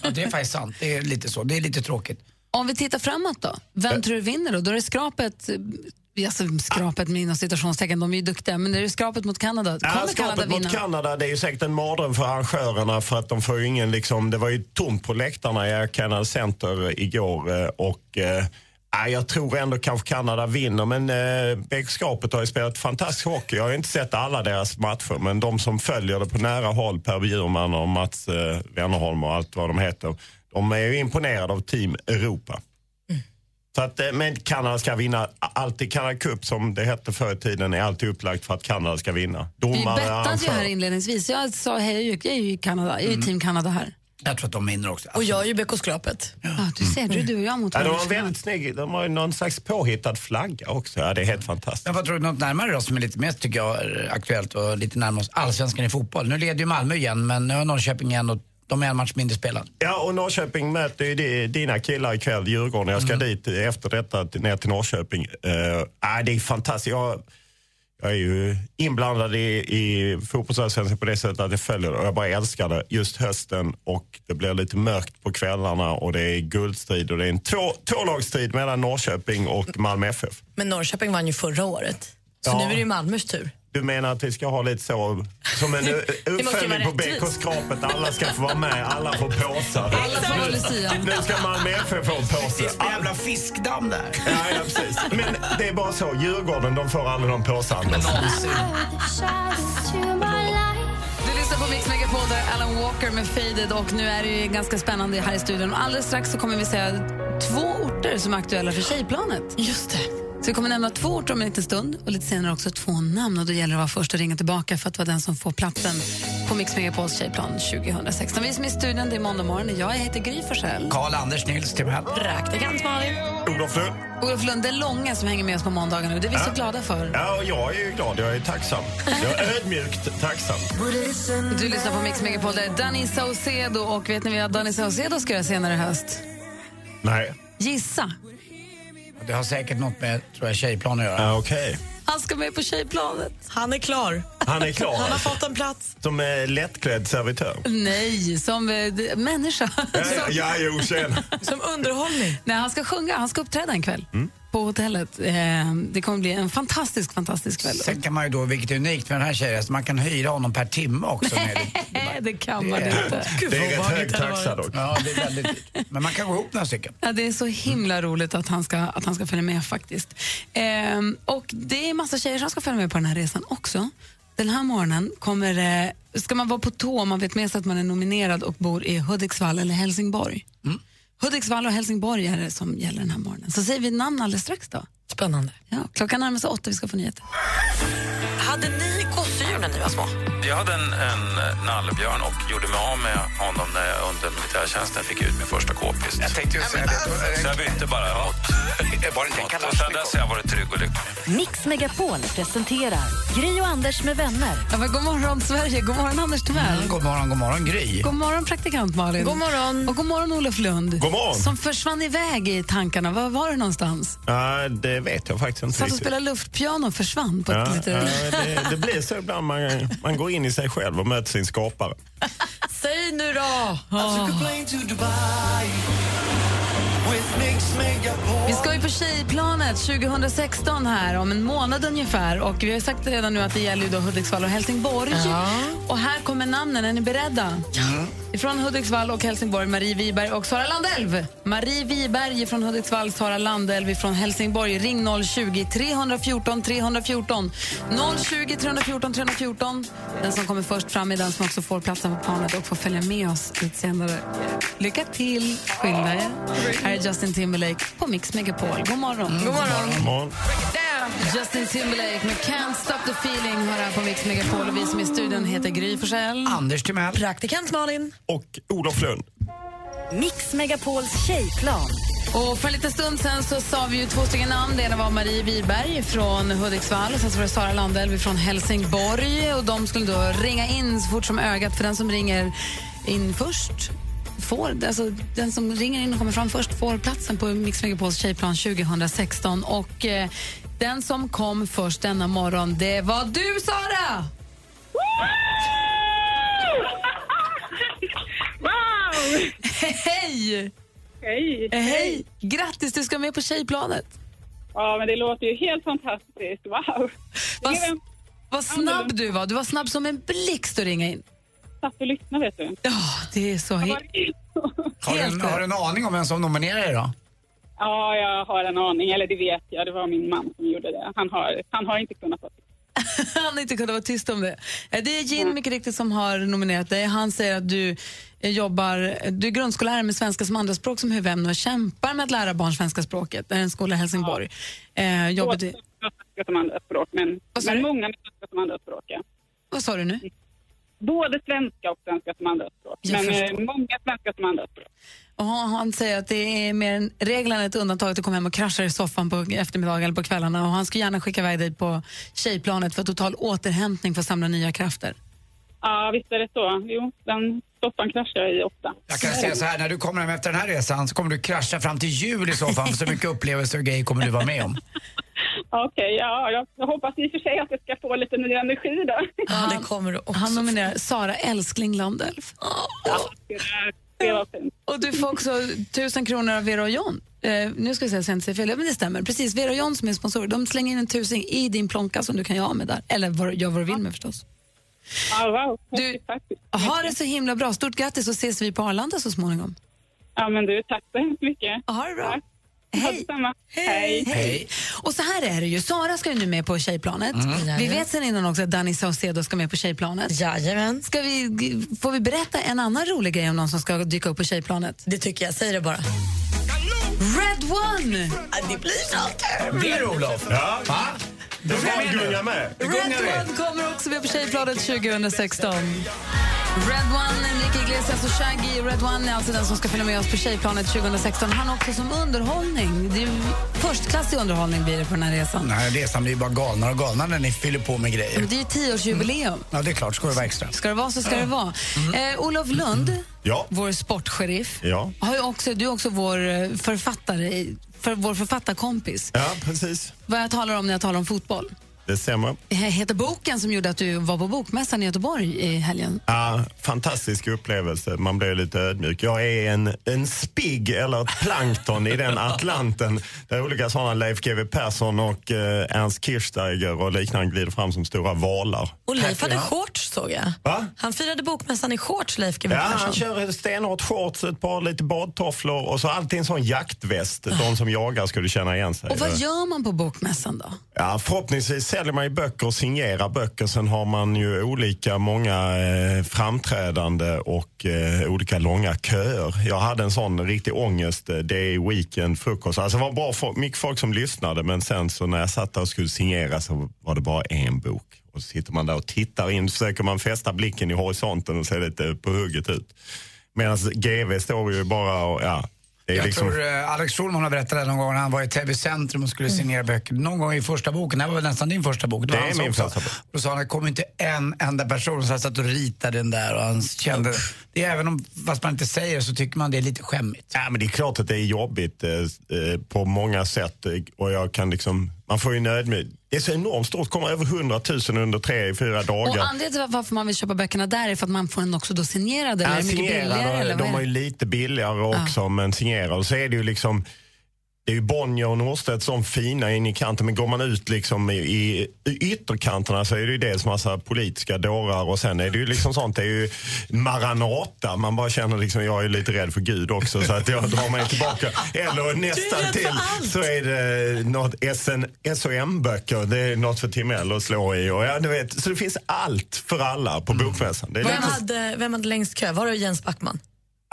Speaker 6: Ja, det är faktiskt sant. Det är lite så. Det är lite tråkigt.
Speaker 5: Om vi tittar framåt då, vem tror du vinner då? Då är det skrapet, eh, alltså skrapet med inom citationstecken, de är ju duktiga, men är det skrapet mot Kanada?
Speaker 19: Ja,
Speaker 5: Kommer Kanada
Speaker 19: skapet
Speaker 5: vinna?
Speaker 19: mot Kanada, det är ju säkert en mardröm för arrangörerna för att de får ju ingen liksom, det var ju tomt på läktarna i Canada Center igår eh, och eh, nej, jag tror ändå kanske Kanada vinner men eh, BK Skapet har ju spelat fantastisk hockey. Jag har ju inte sett alla deras matcher men de som följer det på nära håll, Per Bjurman och Mats eh, Wennerholm och allt vad de heter, de är ju imponerade av Team Europa. Så att, eh, men Kanada ska vinna. Alltid Kanada Cup som det hette förr i tiden är alltid upplagt för att Kanada ska vinna.
Speaker 5: Vi
Speaker 19: Domare,
Speaker 5: bettade ju
Speaker 19: arrangörer.
Speaker 5: här inledningsvis, jag sa hej, jag är ju i Kanada, jag är
Speaker 19: Mm.
Speaker 5: ju team Kanada här.
Speaker 6: Jag tror att de vinner också.
Speaker 7: Och jag är ju BK-skrapet.
Speaker 5: Ja, du ser, du, du och jag mot
Speaker 19: Ja, de var
Speaker 5: varandra.
Speaker 19: väldigt snygg. De har ju någon slags påhittad flagga också. Ja, det är helt fantastiskt.
Speaker 6: Men vad tror du, något närmare då som är lite mer tycker jag, är aktuellt och lite närmare oss allsvenskan i fotboll. Nu leder ju Malmö igen, men nu har Norrköping igen och de är en match mindre spelad.
Speaker 19: Ja, och Norrköping möter ju di- dina killar ikväll, Djurgården. Jag ska dit efter detta, till- ner till Norrköping. Uh, det är fantastiskt. Jag, jag är ju inblandad i, i fotbollsallsvenskan på det sättet att jag följer det och jag bara älskar det. Just hösten och det blir lite mörkt på kvällarna och det är guldstrid och det är en två, tvålagsstrid mellan Norrköping och Malmö FF.
Speaker 7: Men Norrköping vann ju förra året. Så
Speaker 19: Ja.
Speaker 7: nu är det ju Malmös tur.
Speaker 19: Du menar att vi ska ha lite så,
Speaker 7: (laughs)
Speaker 19: som en u-
Speaker 7: Det måste ju
Speaker 19: uppföljning på
Speaker 7: vara
Speaker 19: BK-skrapet. Alla ska få vara med, alla
Speaker 7: (laughs)
Speaker 19: får påsar.
Speaker 6: Alla får
Speaker 19: Nu-
Speaker 6: Lucia.
Speaker 19: Nu ska Malmö FF få en påse.
Speaker 6: Jävla fiskdamm där.
Speaker 19: Ja, ja, precis. Men det är bara så, Djurgården de får aldrig de påsarna.
Speaker 5: Du lyssnar på Mix Megapol, där Alan Walker med Faded och nu är det ju ganska spännande här i studion. Alldeles strax så kommer vi säga två orter som är aktuella för Tjejplanet.
Speaker 7: Just det.
Speaker 5: Så vi kommer nämna två orter om en liten stund och lite senare också två namn. Och då gäller det att vara först att ringa tillbaka för att vara den som får platsen på Mix Megapols tjejplan 2016. Vi som är i studion, det är måndag morgon. Jag heter Gry Forssell.
Speaker 6: Karl-Anders Nils Timell.
Speaker 5: Praktikant Malin.
Speaker 19: Olof Lund.
Speaker 5: Olof Lund, det är långa som hänger med oss på måndagarna och det är vi så glada för.
Speaker 19: Ja, och jag är ju glad. Jag är tacksam. Jag är ödmjukt tacksam.
Speaker 5: Du lyssnar på Mix Megapol, där Danny Saucedo och vet ni vad Danny Saucedo ska göra senare i höst?
Speaker 19: Nej.
Speaker 5: Gissa!
Speaker 6: Det har säkert något med, tror jag, tjejplan att göra.
Speaker 19: Ja, okej.
Speaker 5: Han ska med på tjejplanet.
Speaker 7: Han är klar.
Speaker 19: Han är klar.
Speaker 7: Han har fått en plats.
Speaker 19: Som eh, lättklädd servitör.
Speaker 5: Nej, som eh, d- människa.
Speaker 19: Ja, ja, ja, jo, tjena.
Speaker 7: Som underhållning.
Speaker 5: Nej, han ska sjunga, han ska uppträda en kväll. På hotellet. Eh, det kommer bli en fantastisk, fantastisk kväll.
Speaker 6: Sen kan man ju då, vilket är unikt med den här tjejen, så man kan hyra honom per timme också.
Speaker 5: (laughs)
Speaker 6: Nej,
Speaker 5: det kan man inte.
Speaker 19: Det är rätt hög taxa dock.
Speaker 6: Ja, det är väldigt dyrt. Men man kan gå ihop några stycken.
Speaker 5: Ja, det är så himla roligt att han ska, att han ska följa med faktiskt. Ehm, och det är massa tjejer som ska följa med på den här resan också. Den här morgonen kommer, eh, ska man vara på tå om man vet med sig att man är nominerad och bor i Hudiksvall eller Helsingborg. Hudiksvall och Helsingborg är det som gäller den här morgonen. Så säger vi namn alldeles strax då.
Speaker 7: Spännande.
Speaker 5: Ja, klockan närmar sig åtta, vi ska få nyheter.
Speaker 4: Hade ni gosedjur när ni var små?
Speaker 10: Jag hade en, en eh, nallebjörn och gjorde mig av med honom när jag under militärtjänsten fick ut min första k-pist. Jag tänkte
Speaker 6: säga det. Då är det-
Speaker 10: Så jag bytte bara mot Var det inte Och sen dess har jag varit trygg och lycklig.
Speaker 4: Mix Megapol presenterar Gri och Anders med vänner.
Speaker 5: Ja, men god morgon Sverige, god morgon Anders Timell.
Speaker 6: God morgon, god morgon, Gry.
Speaker 5: God morgon praktikant Malin.
Speaker 7: God morgon.
Speaker 5: Och god morgon Olof Lund.
Speaker 19: God morgon.
Speaker 5: Som försvann iväg i tankarna. Var var du någonstans?
Speaker 19: Ja, det vet jag faktiskt inte
Speaker 5: Satt och
Speaker 19: riktigt.
Speaker 5: spelade luftpiano och försvann på ett
Speaker 19: Ja,
Speaker 5: lite...
Speaker 19: ja, det, det blir så ibland. Man, man går in i sig själv och möter sin skapare.
Speaker 7: Säg nu då!
Speaker 5: Vi ska ju på Tjejplanet 2016 här om en månad ungefär. Och vi har ju sagt redan nu att det gäller ju då Hudiksvall och Helsingborg. Och här kommer namnen, är ni beredda? Ifrån Hudiksvall och Helsingborg, Marie Wiberg och Sara Landelv. Marie Wiberg från Hudiksvall, Sara Landelv från Helsingborg. Ring 020-314 314. 020 314 314. Den som kommer först fram är den som också får platsen på planet och får följa med oss lite senare. Lycka till! Skynda er. Här är Justin Timberlake på Mix Megapol. God morgon!
Speaker 7: God morgon.
Speaker 19: God morgon.
Speaker 5: Justin Timberlake med Can't Stop The Feeling hör här på Mix Megapol. Och vi som är i studion heter Gry Forssell.
Speaker 6: Anders Timell.
Speaker 7: Praktikant Malin.
Speaker 19: Och Olof Lund.
Speaker 4: Mix Megapols tjejplan.
Speaker 5: Och för en liten stund sen så sa vi ju två stycken namn. Det ena var Marie Wiberg från Hudiksvall och sen så var det Sara Landelv från Helsingborg. Och de skulle då ringa in så fort som ögat för den som ringer in först får, alltså den som ringer in och kommer fram först får platsen på Mix Megapols tjejplan 2016. Och eh, den som kom först denna morgon, det var du Sara!
Speaker 22: Wow!
Speaker 5: (laughs) Hej!
Speaker 22: Hej!
Speaker 5: Eh, Hej! Grattis, du ska med på tjejplanet.
Speaker 22: Ja, men det låter ju helt fantastiskt. Wow!
Speaker 5: Vad,
Speaker 22: Det är en-
Speaker 5: vad snabb du var. Du var snabb som en blixt att ringa in.
Speaker 22: Satt och lyssnade, vet du.
Speaker 5: Ja, (laughs) det är så he-
Speaker 6: Har du, en,
Speaker 5: helt
Speaker 6: har du en aning om vem som nominerar dig då?
Speaker 22: Ja, jag har en aning. Eller det vet jag. Det var min man som gjorde det. Han har, han har inte kunnat få
Speaker 5: Han har inte kunnat vara tyst om det. Eh, Det är
Speaker 22: Mm.
Speaker 5: Jin mycket riktigt som har nominerat dig. Han säger att du eh, jobbar, du är grundskollärare med svenska som andraspråk som huvudämne och kämpar med att lära barn svenska språket. Det är en skola i Helsingborg. Eh, jobbet i,
Speaker 22: Jag snackar som andra språk, men,
Speaker 5: Vad sa
Speaker 22: men
Speaker 5: du?
Speaker 22: många med svenska som andra språk. Ja. Mm.
Speaker 5: vad sa du nu?
Speaker 22: Både svenska och svenska som andra språk.
Speaker 5: Jag
Speaker 22: men eh,
Speaker 5: förstår.
Speaker 22: många svenska som andra språk.
Speaker 5: Och han han säger att det är mer en regel än ett undantag att du kommer hem och kraschar i soffan på eftermiddagen eller på kvällarna. Och han skulle gärna skicka iväg dig på tjejplanet för total återhämtning för att samla nya krafter.
Speaker 22: Ja, visst är det så. Jo, den soffan kraschar jag i ofta.
Speaker 6: Jag kan säga så här, när du kommer hem efter den här resan så kommer du krascha fram till jul i så fall, för så mycket upplevelser och grejer kommer du vara med om.
Speaker 22: Okej, ja, jag, jag hoppas i och för sig att jag ska få lite ny energi då.
Speaker 7: Ja, det kommer du också.
Speaker 5: Han nominerar Sara Älskling Landelv.
Speaker 22: Det var fint.
Speaker 5: Och du får också tusen kronor av Vera och John. Eh, nu ska jag säga så jag inte säger fel, Ja, men det stämmer. Precis, Vera och John som är sponsorer, de slänger in en tusing i din plånka som du kan göra av med där. Eller vad, gör vad du vill med förstås.
Speaker 22: Ja, wow.
Speaker 5: Du-
Speaker 22: Tack.
Speaker 5: Ha det så himla bra. Stort grattis och ses vi på Arlanda så småningom.
Speaker 22: Ja, men du, tack så hemskt mycket.
Speaker 5: Ha det bra.
Speaker 22: Tack. Ha detsamma. Hej.
Speaker 6: Hej.
Speaker 5: Och så här är det ju, Sara ska ju nu med på tjejplanet. Vi
Speaker 7: Mm. Jajamän.
Speaker 5: vet sen innan också att Danny Saucedo ska med på tjejplanet.
Speaker 7: Jajamän.
Speaker 5: Ska vi, g- får vi berätta en annan rolig grej om någon som ska dyka upp på tjejplanet?
Speaker 7: Det tycker jag. Säg det bara.
Speaker 5: Red one!
Speaker 7: Det blir något.
Speaker 6: Det är Olof.
Speaker 19: Ja.
Speaker 6: Va?
Speaker 19: Då får vi gunga med.
Speaker 6: Det
Speaker 5: Red
Speaker 6: gungar vi.
Speaker 5: One kommer också med på Tjejbladet 2016. Red One, Enrique Iglesias och Shaggy. Red One är alltså den som ska följa med oss på Tjejplanet 2016. Han också som underhållning. Det är ju förstklassig underhållning blir det på den här resan.
Speaker 6: Den här resan blir ju bara galnare och galnare när ni fyller på med
Speaker 5: Men
Speaker 6: grejer.
Speaker 5: Det är ju tioårsjubileum.
Speaker 6: Ja, det är klart. Ska det vara extra.
Speaker 5: Ska det vara så ska det vara. Eh, Olof Lund,
Speaker 19: Ja.
Speaker 5: vår sportsheriff,
Speaker 19: Mm. Ja.
Speaker 5: har ju också, du är också vår eh, författare, i- för vår författarkompis.
Speaker 19: ja, precis.
Speaker 5: Vad jag talar om när jag talar om fotboll.
Speaker 19: Det stämmer.
Speaker 5: Det här heter boken som gjorde att du var på Bokmässan i Göteborg i helgen.
Speaker 19: Ja, fantastisk upplevelse. Man blir lite ödmjuk. Jag är en, en spigg eller ett plankton i (laughs) den Atlanten där olika sådana Leif GW Persson och eh, Ernst Kirchsteiger och liknande glider fram som stora valar.
Speaker 7: Och Leif hade shorts såg jag.
Speaker 19: Va?
Speaker 7: Han firade bokmässan i shorts, Leif GW
Speaker 19: Ja, han
Speaker 7: Persson.
Speaker 19: kör ett stenhårt shorts, ett par lite badtofflor och så alltid en sån jaktväst. De som jagar skulle känna igen sig.
Speaker 5: Och vad gör man på Bokmässan då?
Speaker 19: Ja, förhoppningsvis säljer man ju böcker och signerar böcker. Sen har man ju olika många eh, framträdande och eh, olika långa köer. Jag hade en sån riktig ångest. eh, Det är weekend, frukost. Alltså det var bra folk, mycket folk som lyssnade men sen så när jag satt där och skulle signera så var det bara en bok. Och så sitter man där och tittar in, försöker man fästa blicken i horisonten och se lite på hugget ut. Medan GV står ju bara och ja. Det är
Speaker 6: Jag
Speaker 19: liksom...
Speaker 6: tror eh, Alex Schulman har berättat det någon gång när han var i Täby centrum och skulle signera böcker. Någon gång i första boken, det här var väl nästan din första bok?
Speaker 19: Mm. Det är
Speaker 6: hans
Speaker 19: min
Speaker 6: också.
Speaker 19: första bok.
Speaker 6: Då sa han, det kom inte en enda person. Så han satt och ritade den där och han kände, det är även om, fast man inte säger det så tycker man det är lite skämmigt.
Speaker 19: Ja, men det är klart att det är jobbigt eh, s- eh, på många sätt. eh, Och jag kan liksom, man får ju en ödmjuk... Det är så enormt stort, kommer över 100 000 under tre, fyra
Speaker 5: Och
Speaker 19: dagar.
Speaker 5: anledningen till varför man vill köpa böckerna där är för att man får den också då signerad eller är
Speaker 19: Ja,
Speaker 5: det mycket billigare?
Speaker 19: signerade,
Speaker 5: Eller
Speaker 19: de
Speaker 5: vad
Speaker 19: var
Speaker 5: är
Speaker 19: ju
Speaker 5: det?
Speaker 19: lite billigare också, men signerade. Och så är det ju liksom... Det är ju Bonnier och Norstedt som fina in i kanten, men går man ut liksom i, i ytterkanterna så är det ju dels massa politiska dårar och sen är det ju liksom sånt, det är ju Maranata. Man bara känner liksom, jag är lite rädd för Gud också så att jag drar mig tillbaka. Eller nästan till så är det något SN SOM-böcker, det är något för Timell att slå i. Och ja, du vet, så det finns allt för alla på Bokmässan. Det är
Speaker 7: Vem
Speaker 19: lite-
Speaker 7: hade, vem hade längst kö? Var det Jens Backman?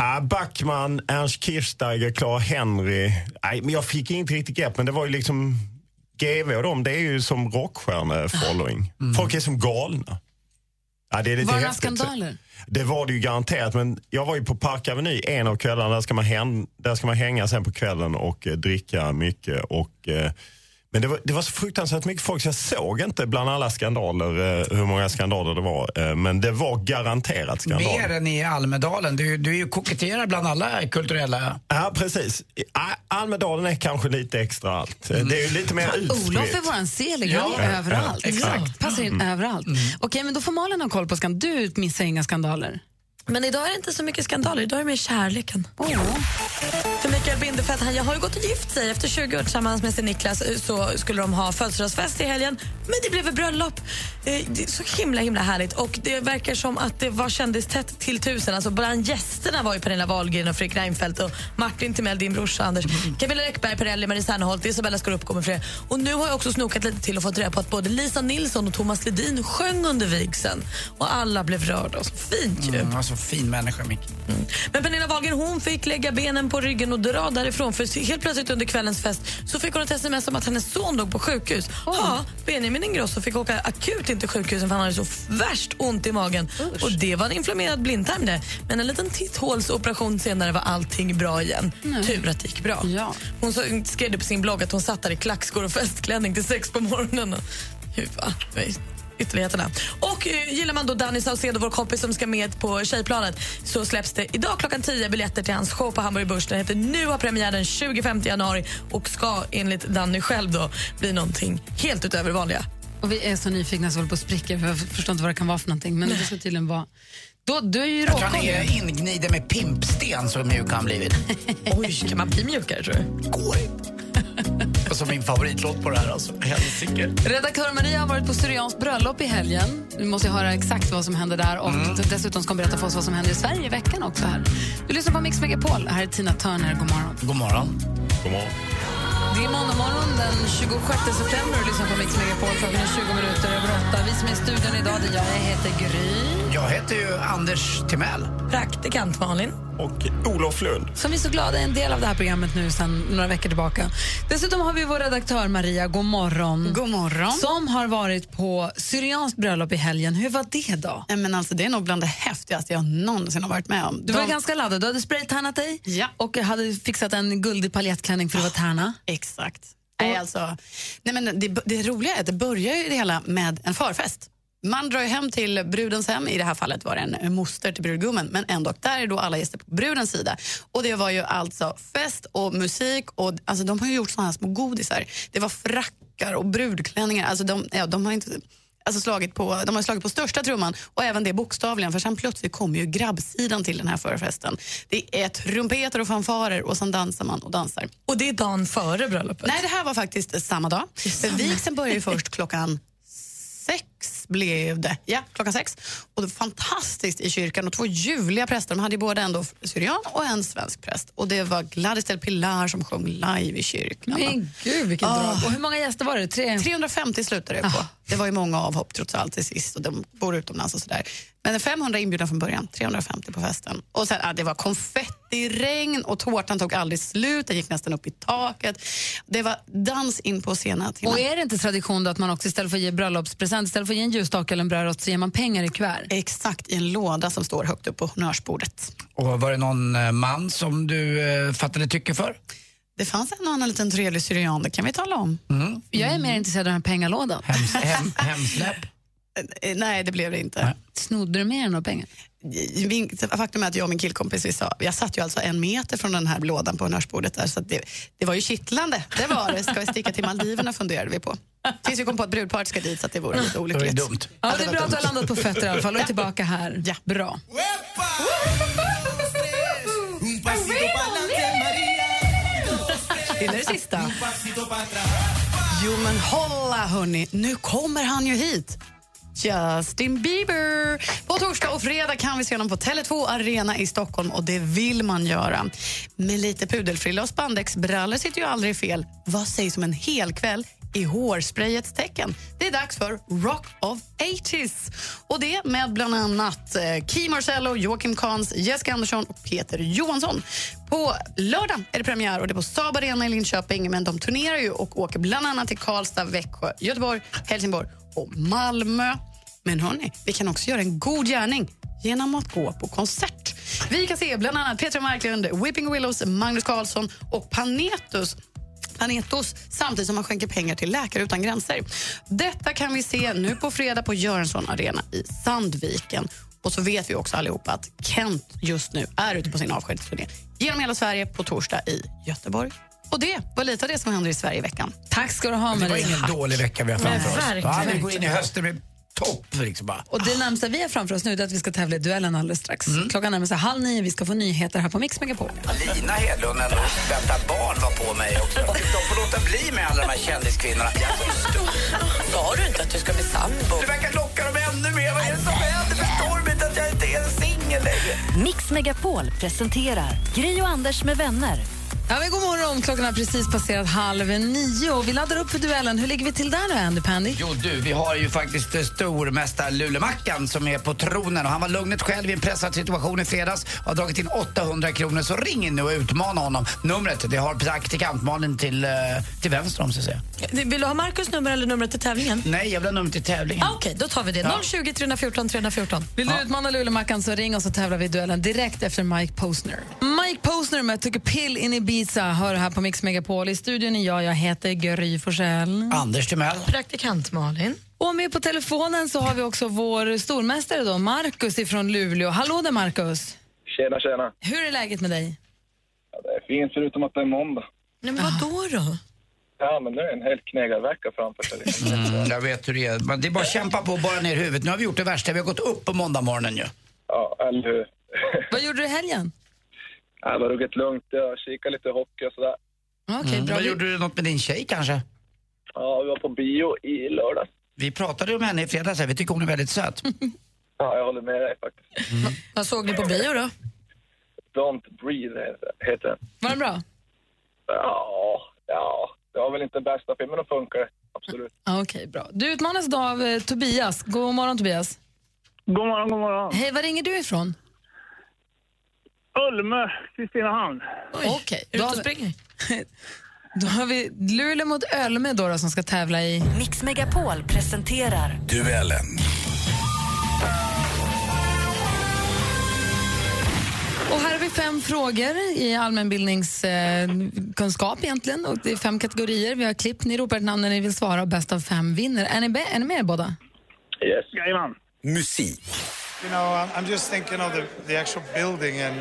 Speaker 19: Ah, Backman, Ernst Kirchsteiger, Clara Henry. Nej, men jag fick inte riktigt grepp, men det var ju liksom... GV och dem, det är ju som
Speaker 5: Ah.
Speaker 19: rockstjärne-following. Folk är som galna. Ja, det är lite
Speaker 5: Mm. Var det några
Speaker 19: häftigt.
Speaker 5: skandaler?
Speaker 19: Det var det ju garanterat, men jag var ju på Park Aveny en av kvällarna. Där ska man, hän, där ska man hänga sen på kvällen och eh, dricka mycket. Och, eh, men det var, det var så fruktansvärt mycket folk så jag såg inte bland alla skandaler eh, hur många skandaler det var. Eh, men det var garanterat skandaler.
Speaker 6: Mer än i Almedalen. Du, du är ju koketterar bland alla kulturella...
Speaker 19: Ja, precis. A- Almedalen är kanske lite extra allt.
Speaker 6: Mm.
Speaker 19: Det är ju lite mer utspritt.
Speaker 5: Olof är våran selig, han
Speaker 19: Ja,
Speaker 5: är överallt.
Speaker 19: ja, exakt. Mm.
Speaker 5: Ja, Passar in överallt. Okej, men då får Malin ha koll på skandaler. Du missar inga skandaler.
Speaker 7: Men idag är det inte så mycket skandaler, idag är det mer kärleken. Oh. För Mikael Bindefeld, han jag har ju gått och gift sig. Efter 20 år tillsammans med sin Niklas eh, så skulle de ha födelsedagsfest i helgen, men det blev ett bröllop. Eh, det är Så himla himla härligt. Och det verkar som att det var kändistätt till tusen. Alltså bland gästerna var ju Pernilla Wahlgren och Fredrik Reinfeldt och Martin Timell, din brorsa Anders, Camilla Läckberg, Perrelli, Marie Serneholt, Isabella Skorup kommer fler. Och nu har jag också snokat lite till och fått reda på att både Lisa Nilsson och Thomas Ledin sjöng under vigseln. Och alla blev rörda. Och så fint ju.
Speaker 6: Mm, alltså fin människa, Micke.
Speaker 7: Men Pernilla Wahlgren hon fick lägga benen på ryggen och dra därifrån för helt plötsligt under kvällens fest så fick hon ett sms om att hennes son låg på sjukhus. Ja, Benjamin Ingrosso fick åka akut in till sjukhuset för han hade så värst ont i magen. Och det var en inflammerad blindtarm det. Men en liten titthålsoperation senare var allting bra igen.
Speaker 9: Mm.
Speaker 7: Tur att det gick bra. Hon så, skrev det på sin blogg att hon satt där i klackskor och festklänning till sex på morgonen. Hur va? Det var ju Ytterligheterna. Och eh, gillar man då Danny Saucedo, vår kompis som ska med på Tjejplanet så släpps det idag klockan 10 biljetter till hans show på Hamburg Börs. Den heter Nu har premiär den 25 januari och ska enligt Danny själv då bli någonting helt utöver det vanliga.
Speaker 5: Och vi är så nyfikna så vi håller på att spricka, för jag förstår inte vad det kan vara för någonting. Men det ska tydligen vara... Då, du är ju
Speaker 6: Jag tror han
Speaker 5: råkoll.
Speaker 6: är ingniden med pimpsten så mjuk han blivit.
Speaker 7: Oj, (laughs) kan man bli mjukare tror du?
Speaker 6: Går inte. Alltså min favoritlåt på det här alltså. Helsike.
Speaker 5: Redaktör Maria har varit på Syrians bröllop i helgen. Vi måste ju höra exakt vad som hände där och
Speaker 19: Mm.
Speaker 5: dessutom ska hon berätta för oss vad som händer i Sverige i veckan också. här. Du lyssnar på Mix Megapol. Här är Tina Turner. God morgon.
Speaker 6: God morgon.
Speaker 19: God morgon.
Speaker 5: Det är måndag morgon den 26 september och lyssnar på Mix Megapol. Klockan är 20 minuter över åtta. Vi som är i studion idag, det är jag. Jag heter Gry.
Speaker 6: Jag heter ju Anders Timell.
Speaker 7: Praktikant Malin.
Speaker 19: Och Olof Lund.
Speaker 5: Som vi är så glada är en del av det här programmet nu sedan några veckor tillbaka. Dessutom har vi vår redaktör Maria, god morgon. God morgon. Som har varit på Syrianskt bröllop i helgen. Hur var det då?
Speaker 2: Men alltså, det är nog bland det häftigaste jag någonsin har varit med om.
Speaker 5: Du var
Speaker 2: De-
Speaker 5: ganska laddad. Du hade spraytannat dig och hade fixat en guldig paljettklänning för att vara tärna.
Speaker 2: Exakt. Nej, alltså, nej, men det, det roliga är att det börjar ju det hela med en förfest. Man drar ju hem till brudens hem, i det här fallet var det en moster till brudgummen, men ändå, där är då alla gäster på brudens sida. Och det var ju alltså fest och musik och alltså, de har ju gjort sådana här små godisar. Det var frackar och brudklänningar, alltså de, ja, de har inte... Alltså slagit på, de har slagit på största trumman och även det bokstavligen för sen plötsligt kommer ju grabbsidan till den här förfesten. Det är trumpeter och fanfarer och sen dansar man och dansar.
Speaker 7: Och det är dagen före bröllopet?
Speaker 2: Nej, det här var faktiskt samma dag. För vigseln börjar ju först klockan sex blev det. Ja, klockan sex. Och det var fantastiskt i kyrkan och två ljuvliga präster. De hade ju både en då syrian och en svensk präst. Och det var Gladys del Pilar som sjöng live i kyrkan.
Speaker 5: Men gud, vilken
Speaker 2: Ah.
Speaker 5: drag. Och hur många gäster var det? Tre?
Speaker 2: 350 slutade det på. Det var ju många avhopp trots allt till sist och de bor utomlands och sådär. Men 500 inbjudna från början, 350 på festen. Och sen, ah, det var konfetti, regn och tårtan tog aldrig slut, den gick nästan upp i taket. Det var dans in på sena timmar.
Speaker 5: Och är det inte tradition då att man också istället för att ge bröllopspresent, istället för att ge en ljusstake eller en brödrost så ger man pengar i kuvert?
Speaker 2: Exakt, i en låda som står högt upp på honnörsbordet.
Speaker 6: Och var det någon eh, man som du eh, fattade tycke för?
Speaker 2: Det fanns en och annan liten trevlig syrian, det kan vi tala om.
Speaker 6: Mm.
Speaker 5: Jag är mer intresserad av den här pengalådan.
Speaker 6: Hem, hemsläpp?
Speaker 2: Eh, Nej, det blev det inte.
Speaker 5: Snodde du med dig några pengar?
Speaker 2: Vink- Faktum är att jag och min killkompis vi sa, jag satt ju alltså en meter från den här lådan på honnörsbordet där, så att det, det var ju kittlande. Det var det. Ska vi sticka till Maldiverna funderade vi på. Tills vi kom på att brudparet ska dit så att det vore lite olyckligt.
Speaker 6: Det var ju dumt.
Speaker 5: Ja,
Speaker 2: det
Speaker 5: det är
Speaker 2: var
Speaker 5: bra att du har
Speaker 2: dumt.
Speaker 5: landat på fötter i
Speaker 2: (laughs)
Speaker 5: alla fall och är tillbaka här. Ja. Bra.
Speaker 2: Gillar du sista? Jo men hålla hörni, nu kommer han ju hit. Justin Bieber! På torsdag och fredag kan vi se honom på Tele2 Arena i Stockholm och det vill man göra. Med lite pudelfrilla och spandexbrallor sitter ju aldrig fel. Vad sägs om en hel kväll i hårsprayets tecken? Det är dags för Rock of 80s. Och det med bland annat eh, Key Marcello, Joakim Kahns, Jessica Andersson och Peter Johansson. På lördag är det premiär och det är på Saab Arena i Linköping men de turnerar ju och åker bland annat till Karlstad, Växjö, Göteborg, Helsingborg och Malmö. Men hörni, vi kan också göra en god gärning genom att gå på konsert. Vi kan se bland annat Petra Marklund, Whipping Willows, Magnus Carlsson och Panetus Panetos samtidigt som man skänker pengar till Läkare utan gränser. Detta kan vi se nu på fredag på Göransson Arena i Sandviken. Och så vet vi också allihopa att Kent just nu är ute på sin avskedsturné genom hela Sverige på torsdag i Göteborg. Och det var lite av det som händer i Sverige i veckan.
Speaker 5: Tack ska du ha
Speaker 6: Det var
Speaker 5: Maria.
Speaker 6: ingen dålig vecka vi har framför
Speaker 5: Nej,
Speaker 6: oss.
Speaker 5: verkligen.
Speaker 6: Ja, vi går in i hösten med topp. Liksom bara.
Speaker 5: Och det närmsta vi har framför oss nu är att vi ska tävla i duellen alldeles strax.
Speaker 2: Mm.
Speaker 5: Klockan närmar sig halv nio, vi ska få nyheter här på Mix Megapol.
Speaker 6: Lina Hedlund ändå, vänta barn var på mig
Speaker 3: (laughs)
Speaker 6: också. De får låta bli med alla de här kändiskvinnorna.
Speaker 3: Sa du inte att du ska bli sambo?
Speaker 6: Du verkar locka dem ännu mer. Vad är det som händer? Förstår de inte att jag inte är en singel längre?
Speaker 4: Mix Megapol presenterar Gri och Anders med vänner.
Speaker 5: Ja, men god morgon, klockan har precis passerat halv nio och vi laddar upp för duellen. Hur ligger vi till där nu, Andy Pandy?
Speaker 6: Jo du, vi har ju faktiskt eh, stormästare Lulemackan som är på tronen och han var lugnet själv i en pressad situation i fredags och har dragit in 800 kronor. Så ring in nu och utmana honom. Numret, det har praktikant Malin till, eh, till vänster om så att säga.
Speaker 7: Vill du ha Markus nummer eller numret till tävlingen?
Speaker 6: Nej, jag vill ha numret till tävlingen.
Speaker 7: Ah, Okej, då tar vi det.
Speaker 6: Ja.
Speaker 7: 020 314 314.
Speaker 5: Vill du utmana Lulemackan så ring oss och tävlar vi i duellen direkt efter Mike Posner. Mike Posner med Took a pill in Ibiza hör här på Mix Megapol. I studion är jag, jag heter Gry Forssell.
Speaker 6: Anders Timell.
Speaker 7: Praktikant Malin.
Speaker 5: Och med på telefonen så har vi också vår stormästare då, Markus ifrån Luleå. Hallå där Markus!
Speaker 23: Tjena, tjena.
Speaker 5: Hur är läget med dig?
Speaker 23: Det är fint förutom att det är måndag.
Speaker 7: Nej, men vad då då?
Speaker 23: Ja, men nu är en helt knegarvecka framför sig. liksom.
Speaker 6: Mm, jag vet hur det är. Men det är bara att kämpa på och borra ner huvudet. Nu har vi gjort det värsta. Vi har gått upp på måndag morgonen ju.
Speaker 23: Ja, eller hur?
Speaker 5: (laughs) Vad gjorde du i helgen?
Speaker 23: Ja, Det var ruggigt lugnt. Jag kikade lite hockey och sådär.
Speaker 5: Okej,
Speaker 6: Mm.
Speaker 5: bra.
Speaker 6: Vad gjorde du något med din tjej kanske?
Speaker 23: Ja, vi var på bio i lördags.
Speaker 6: Vi pratade om henne i fredags. här. Vi tycker hon är väldigt
Speaker 5: (laughs)
Speaker 6: söt.
Speaker 23: Ja, jag håller med dig faktiskt.
Speaker 7: Vad såg ni på bio då?
Speaker 23: Don't breathe heter- heter den.
Speaker 5: Var den bra?
Speaker 23: Ja, ja. Det var väl inte den bästa filmen, men den funkar. Absolut.
Speaker 5: Ja, Okej, bra. Du utmanas då av eh, Tobias. God morgon Tobias.
Speaker 24: God morgon, god morgon.
Speaker 5: Hej, var ringer du ifrån?
Speaker 8: Ölme, Kristinehamn.
Speaker 5: Okej. Då, har vi- (laughs) då har vi Luleå mot Ölme då, då som ska tävla i...
Speaker 4: Mix Megapol presenterar
Speaker 9: Duellen.
Speaker 5: Och här har vi fem frågor i allmänbildningskunskap eh, egentligen. Och det är fem kategorier. Vi har klipp, ni ropar ett namn när ni vill svara och bäst av fem vinner. Är ni, be- är ni med er båda?
Speaker 8: Yes. Jajamän.
Speaker 9: Musik.
Speaker 13: You know, I'm, I'm just thinking of the, the actual building and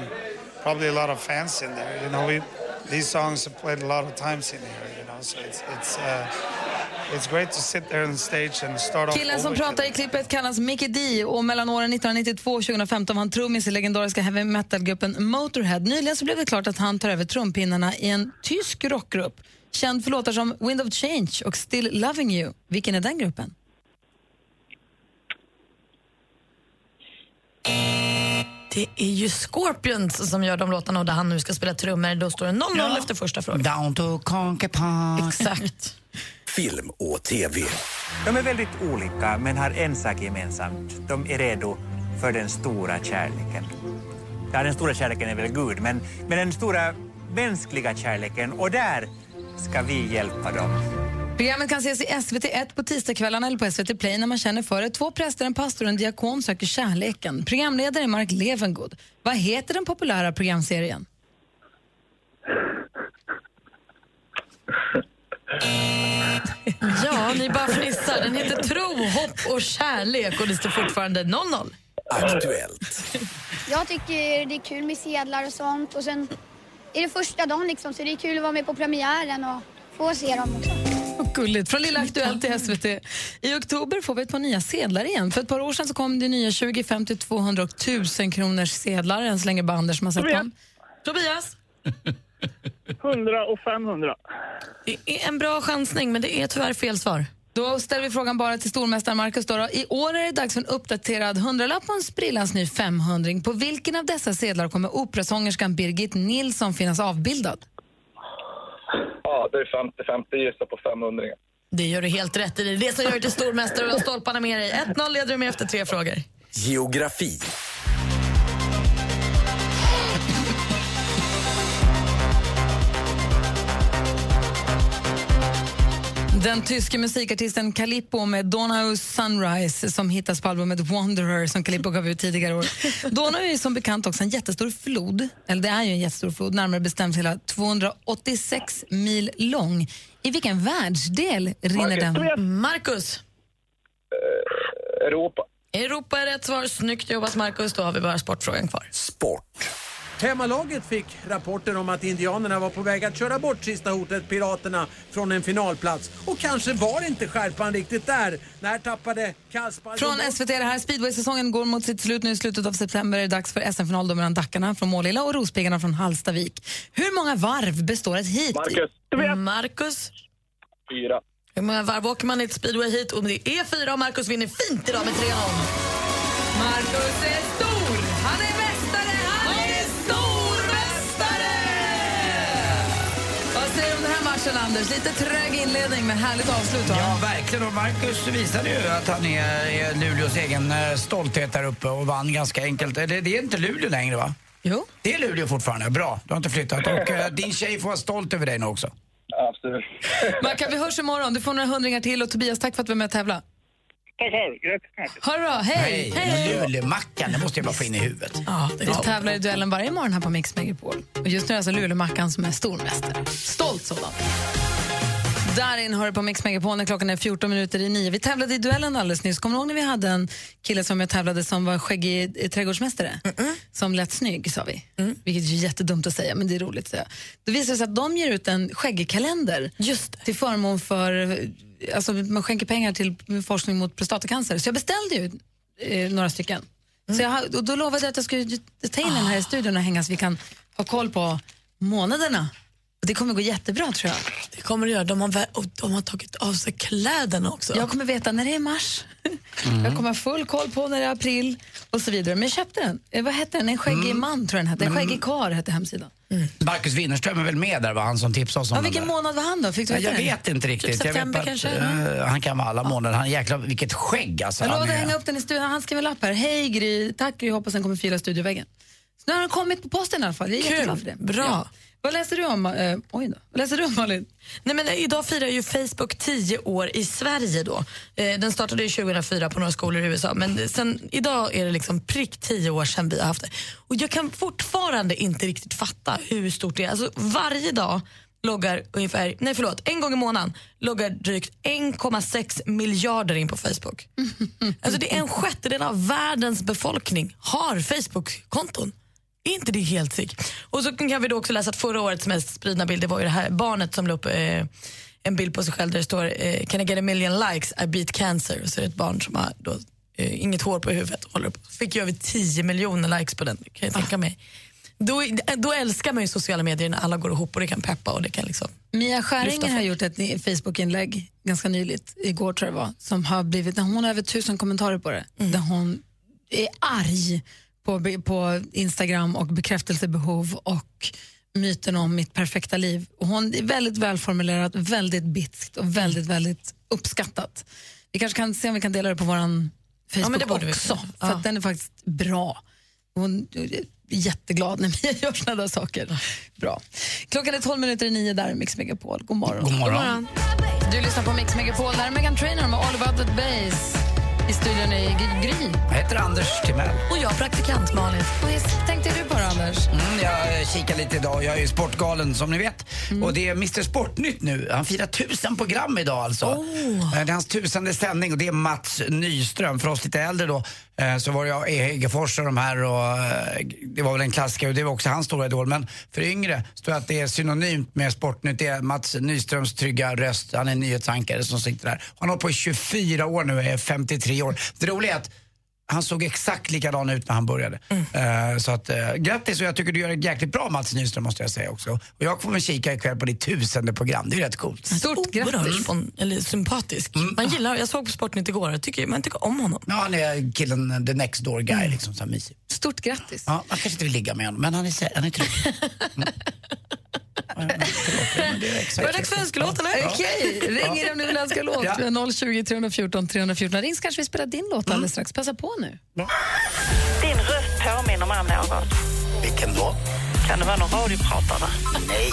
Speaker 13: probably a lot of fans in there. You know, we these songs have played a lot of times in here. You know, so it's it's uh, it's great to sit there on stage and start off.
Speaker 5: Killen
Speaker 13: over
Speaker 5: som
Speaker 13: again.
Speaker 5: pratar i klippet kallas Mickey D och mellan åren 1992 och 2015 var han trummis i legendariska heavy metal-gruppen Motorhead. Nyligen så blev det klart att han tar över trumpinnarna i en tysk rockgrupp känd för låtar som Wind of Change och Still Loving You. Vilken är den gruppen?
Speaker 7: Det är ju Scorpions som gör de låtarna och där han nu ska spela trummor. Då står det 0-0
Speaker 6: Ja.
Speaker 7: efter första frågan.
Speaker 6: Down to Conker Park.
Speaker 7: Exakt.
Speaker 9: Film och TV.
Speaker 24: De är väldigt olika, men har en sak gemensamt. De är redo för den stora kärleken. Ja, den stora kärleken är väl Gud, men, men den stora mänskliga kärleken, och där ska vi hjälpa dem.
Speaker 5: Programmet kan ses i SVT1 på tisdagskvällarna eller på SVT Play när man känner för det. Två präster, en pastor och en diakon söker kärleken. Programledare är Mark Levengood. Vad heter den populära programserien?
Speaker 7: Ja, ni bara fnissar. Den heter Tro, hopp och kärlek och det står fortfarande 0-0.
Speaker 9: Aktuellt.
Speaker 17: Jag tycker det är kul med sedlar och sånt och sen är det första dagen liksom så det är kul att vara med på premiären och få se dem också.
Speaker 5: Vad Gulligt. Från Lilla Aktuellt till SVT. I oktober får vi ett par nya sedlar igen. För ett par år sedan så kom det nya 20, 50, 200 och 1000 kronors sedlar. Än så länge bara Anders som har sett
Speaker 8: Tobias.
Speaker 5: dem. Tobias?
Speaker 8: 100 och 500.
Speaker 5: Det är en bra chansning, men det är tyvärr fel svar. Då ställer vi frågan bara till stormästaren Marcus. Då då. I år är det dags för en uppdaterad hundralapp och en sprillans ny 500 På vilken av dessa sedlar kommer operasångerskan Birgit Nilsson finnas avbildad?
Speaker 23: Ja, det är 50-50 gissa på 500
Speaker 7: Det gör du helt rätt i. Det är det som gör dig till stormästare och du har stolparna med dig. 1-0 leder du med efter tre frågor.
Speaker 9: Geografi.
Speaker 5: Den tyske musikartisten Calippo med Donau Sunrise som hittas på albumet Wanderer som Calippo gav ut tidigare i år. Donau är som bekant också en jättestor flod, eller det är ju en jättestor flod, närmare bestämt hela 286 mil lång. I vilken världsdel rinner den?
Speaker 7: Marcus.
Speaker 23: Europa.
Speaker 7: Europa är rätt svar. Snyggt jobbat, Marcus. Då har vi bara sportfrågan kvar.
Speaker 9: Sport.
Speaker 25: Hemmalaget fick rapporter om att indianerna var på väg att köra bort sista hotet, piraterna, från en finalplats. Och kanske var inte skärpan riktigt där. När tappade Kasparov...
Speaker 5: Från SVT, det här speedway-säsongen går mot sitt slut nu i slutet av september. Är det dags för SM-final då mellan Dackarna från Målilla och Rospiggarna från Halstavik. Hur många varv består ett heat i?
Speaker 7: Marcus. Marcus.
Speaker 23: Fyra.
Speaker 7: Hur många varv åker man i ett speedway hit? Om det är fyra och Marcus vinner fint idag med 3-0.
Speaker 5: Marcus är stor! Han är mästare! Han är stormästare! Vad säger du om den här matchen, Anders? Lite trög inledning, men härligt avslut. Va?
Speaker 6: Ja, verkligen. Och Marcus visade ju att han är, är Luleås egen eh, stolthet där uppe och vann ganska enkelt. Eller det är inte Luleå längre, va?
Speaker 5: Jo.
Speaker 6: Det är Luleå fortfarande. Bra, du har inte flyttat. Och eh, din tjej får vara stolt över dig nu också.
Speaker 23: Absolut.
Speaker 5: (laughs) Mackan, vi hörs imorgon. Du får några hundringar till. Och Tobias, tack för att du var med och tävlade. Ha det bra. Hej!
Speaker 6: Lulemackan, det måste jag bara få in i huvudet.
Speaker 5: Ja, Vi tävlar i duellen varje morgon här på Mix Megapol. Och just nu är det alltså Luleå-Mackan som är stormästare. Stolt sådan. Darin hör på Mix Megapol när klockan är 14 minuter i nio. Vi tävlade i duellen alldeles nyss. Kommer du ihåg när vi hade en kille som jag tävlade som var skäggig eh, trädgårdsmästare? Som lät snygg, sa vi. Vilket är ju jättedumt att säga, men det är roligt. Så. Då visade det sig att de ger ut en skäggkalender Just till förmån för... Alltså, man skänker pengar till forskning mot prostatacancer. Så jag beställde ju eh, några stycken. Så jag, har- och då lovade jag att jag skulle ju ta in den här i studion och hänga så vi kan ha koll på månaderna. Det kommer gå jättebra tror jag.
Speaker 7: Det kommer det göra. De har, vä- och de har tagit av sig kläderna också.
Speaker 5: Jag kommer veta när det är mars.
Speaker 6: Mm.
Speaker 5: Jag kommer ha full koll på när det är april och så vidare. Men jag köpte den. Eh, Vad hette den? En skäggig
Speaker 6: Mm.
Speaker 5: man tror jag den hette. En
Speaker 6: Men-
Speaker 5: skäggig karl hette hemsidan.
Speaker 6: Marcus Winnerström är väl med där, var han som tipsade oss om
Speaker 5: Ja,
Speaker 6: den
Speaker 5: vilken
Speaker 6: där.
Speaker 5: månad var han då? Fick du
Speaker 6: Ja,
Speaker 5: veta
Speaker 6: jag
Speaker 5: det?
Speaker 6: vet inte riktigt.
Speaker 5: Typ
Speaker 6: jag vet
Speaker 5: september
Speaker 6: bara att,
Speaker 5: kanske?
Speaker 6: eh, han kan vara alla månader. Han jäklar, vilket skägg alltså.
Speaker 5: jag
Speaker 6: han
Speaker 5: lovade
Speaker 6: är-
Speaker 5: att hänga upp den i studion. Han skrev en lapp här. Hej Gry, tack Gry, hoppas den kommer fila studioväggen. Nu har den kommit på posten i alla fall. Jag är jätteglad för det.
Speaker 7: Bra.
Speaker 5: Ja. Vad läser du om? Eh, oj då. Vad läser du om Malin?
Speaker 7: Nej, men eh, idag firar ju Facebook 10 år i Sverige. Då. Eh, den startade ju 2004 på några skolor i USA men sen, idag är det liksom prick 10 år sedan vi har haft det. Och jag kan fortfarande inte riktigt fatta hur stort det är. Alltså, varje dag loggar ungefär, nej förlåt, en gång i månaden loggar drygt 1,6 miljarder in på Facebook. Alltså det är en sjättedel av världens befolkning har Facebook-konton. Är inte det helt sick? Och så kan vi då också läsa att förra årets mest spridna bild det var ju det här barnet som la upp eh, en bild på sig själv där det står eh, Can I get a million likes? I beat cancer. Och så är det ett barn som har då, eh, inget hår på huvudet och håller upp. Fick ju över 10 miljoner likes på den, kan jag tänka mig. Då, då älskar man ju sociala medier när alla går ihop och det kan peppa och det kan liksom...
Speaker 5: Mia
Speaker 7: Lyfta
Speaker 5: Skäringer har
Speaker 7: folk.
Speaker 5: gjort ett ni- Facebook-inlägg ganska nyligt, igår tror jag det var, som har blivit, när hon har över tusen kommentarer på det,
Speaker 7: Mm.
Speaker 5: där hon är arg på, be- på Instagram och bekräftelsebehov och myten om mitt perfekta liv. Och hon är väldigt välformulerat, väldigt bitskt och väldigt, väldigt uppskattat. Vi kanske kan se om vi kan dela det på vår Facebook
Speaker 7: det borde vi
Speaker 5: också,
Speaker 7: kunna.
Speaker 5: för
Speaker 7: Ja.
Speaker 5: att den är faktiskt bra. Hon är jätteglad när Mia (laughs) gör såna där saker. Bra. Klockan är 12 minuter i nio, där är Mix Megapol. God morgon.
Speaker 6: God morgon.
Speaker 5: Du lyssnar på Mix Megapol. Där är Megan Trainor med All About That Bass. I studion i G- Gry.
Speaker 6: Jag heter Anders Timell.
Speaker 7: Och jag praktikant Malin.
Speaker 5: Vad är- tänkte du på då, Anders?
Speaker 6: Mm, jag eh, kikar lite idag. Jag är ju sportgalen som ni vet. Och det är Mr Sportnytt nu. Han firar tusen program idag alltså. Eh, Det är hans tusende sändning och det är Mats Nyström. För oss lite äldre då eh, så var det jag, E. Häggefors och de här och eh, det var väl en klassiker och det var också hans stora idol. Men för yngre står det att det är synonymt med Sportnytt. Det är Mats Nyströms trygga röst. Han är nyhetsankare som sitter där. Han har hållit på i 24 år nu och är 53 år. Det roliga är att han såg exakt likadan ut när han började.
Speaker 5: Mm.
Speaker 6: Eh, så att, uh, grattis och jag tycker du gör ett jäckligt bra Mats Nyström måste jag säga också. Och jag kommer kika ikväll på ditt tusende program, det är ju rätt coolt.
Speaker 7: Stort grattis. Eller sympatisk. Man gillar, jag såg på Sportnytt igår, jag tycker, man tycker om honom.
Speaker 6: Mm. Ja, han är killen eh, the next door guy liksom, så här mysig.
Speaker 5: Mm. Stort grattis.
Speaker 6: Ja, man kanske inte vill ligga med honom, men han är, sä- han är trygg. eh,
Speaker 7: (laughs) Var det dags för önskelåt eller?
Speaker 5: Okej, ring er om ni vill önska låt. Vi har 020 314 314. Ring så kanske vi spelar din
Speaker 6: Mm.
Speaker 5: låt alldeles strax. Passa på nu.
Speaker 3: Din röst påminner mig om någon.
Speaker 6: Vilken då?
Speaker 3: Kan det vara någon radiopratare?
Speaker 6: Nej.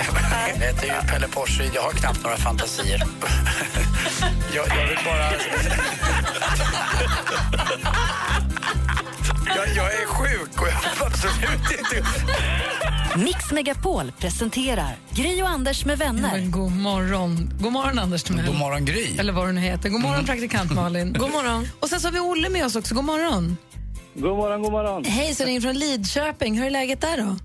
Speaker 6: (laughs) Helvete, ju Pelle Porsche, jag har knappt några fantasier. (laughs) jag, jag vill bara... (laughs) jag, jag är sjuk och jag vill absolut inte...
Speaker 4: Mix Megapol presenterar Gry och Anders med vänner.
Speaker 5: god morgon. God morgon, Anders Timell.
Speaker 6: God morgon, Gry. Mm.
Speaker 5: Eller vad du nu heter. God morgon, praktikant Malin. God morgon. Och sen så har vi Olle med oss också. God morgon.
Speaker 12: God morgon, god morgon.
Speaker 5: Hej, så ringer från Lidköping. Hur är läget där då?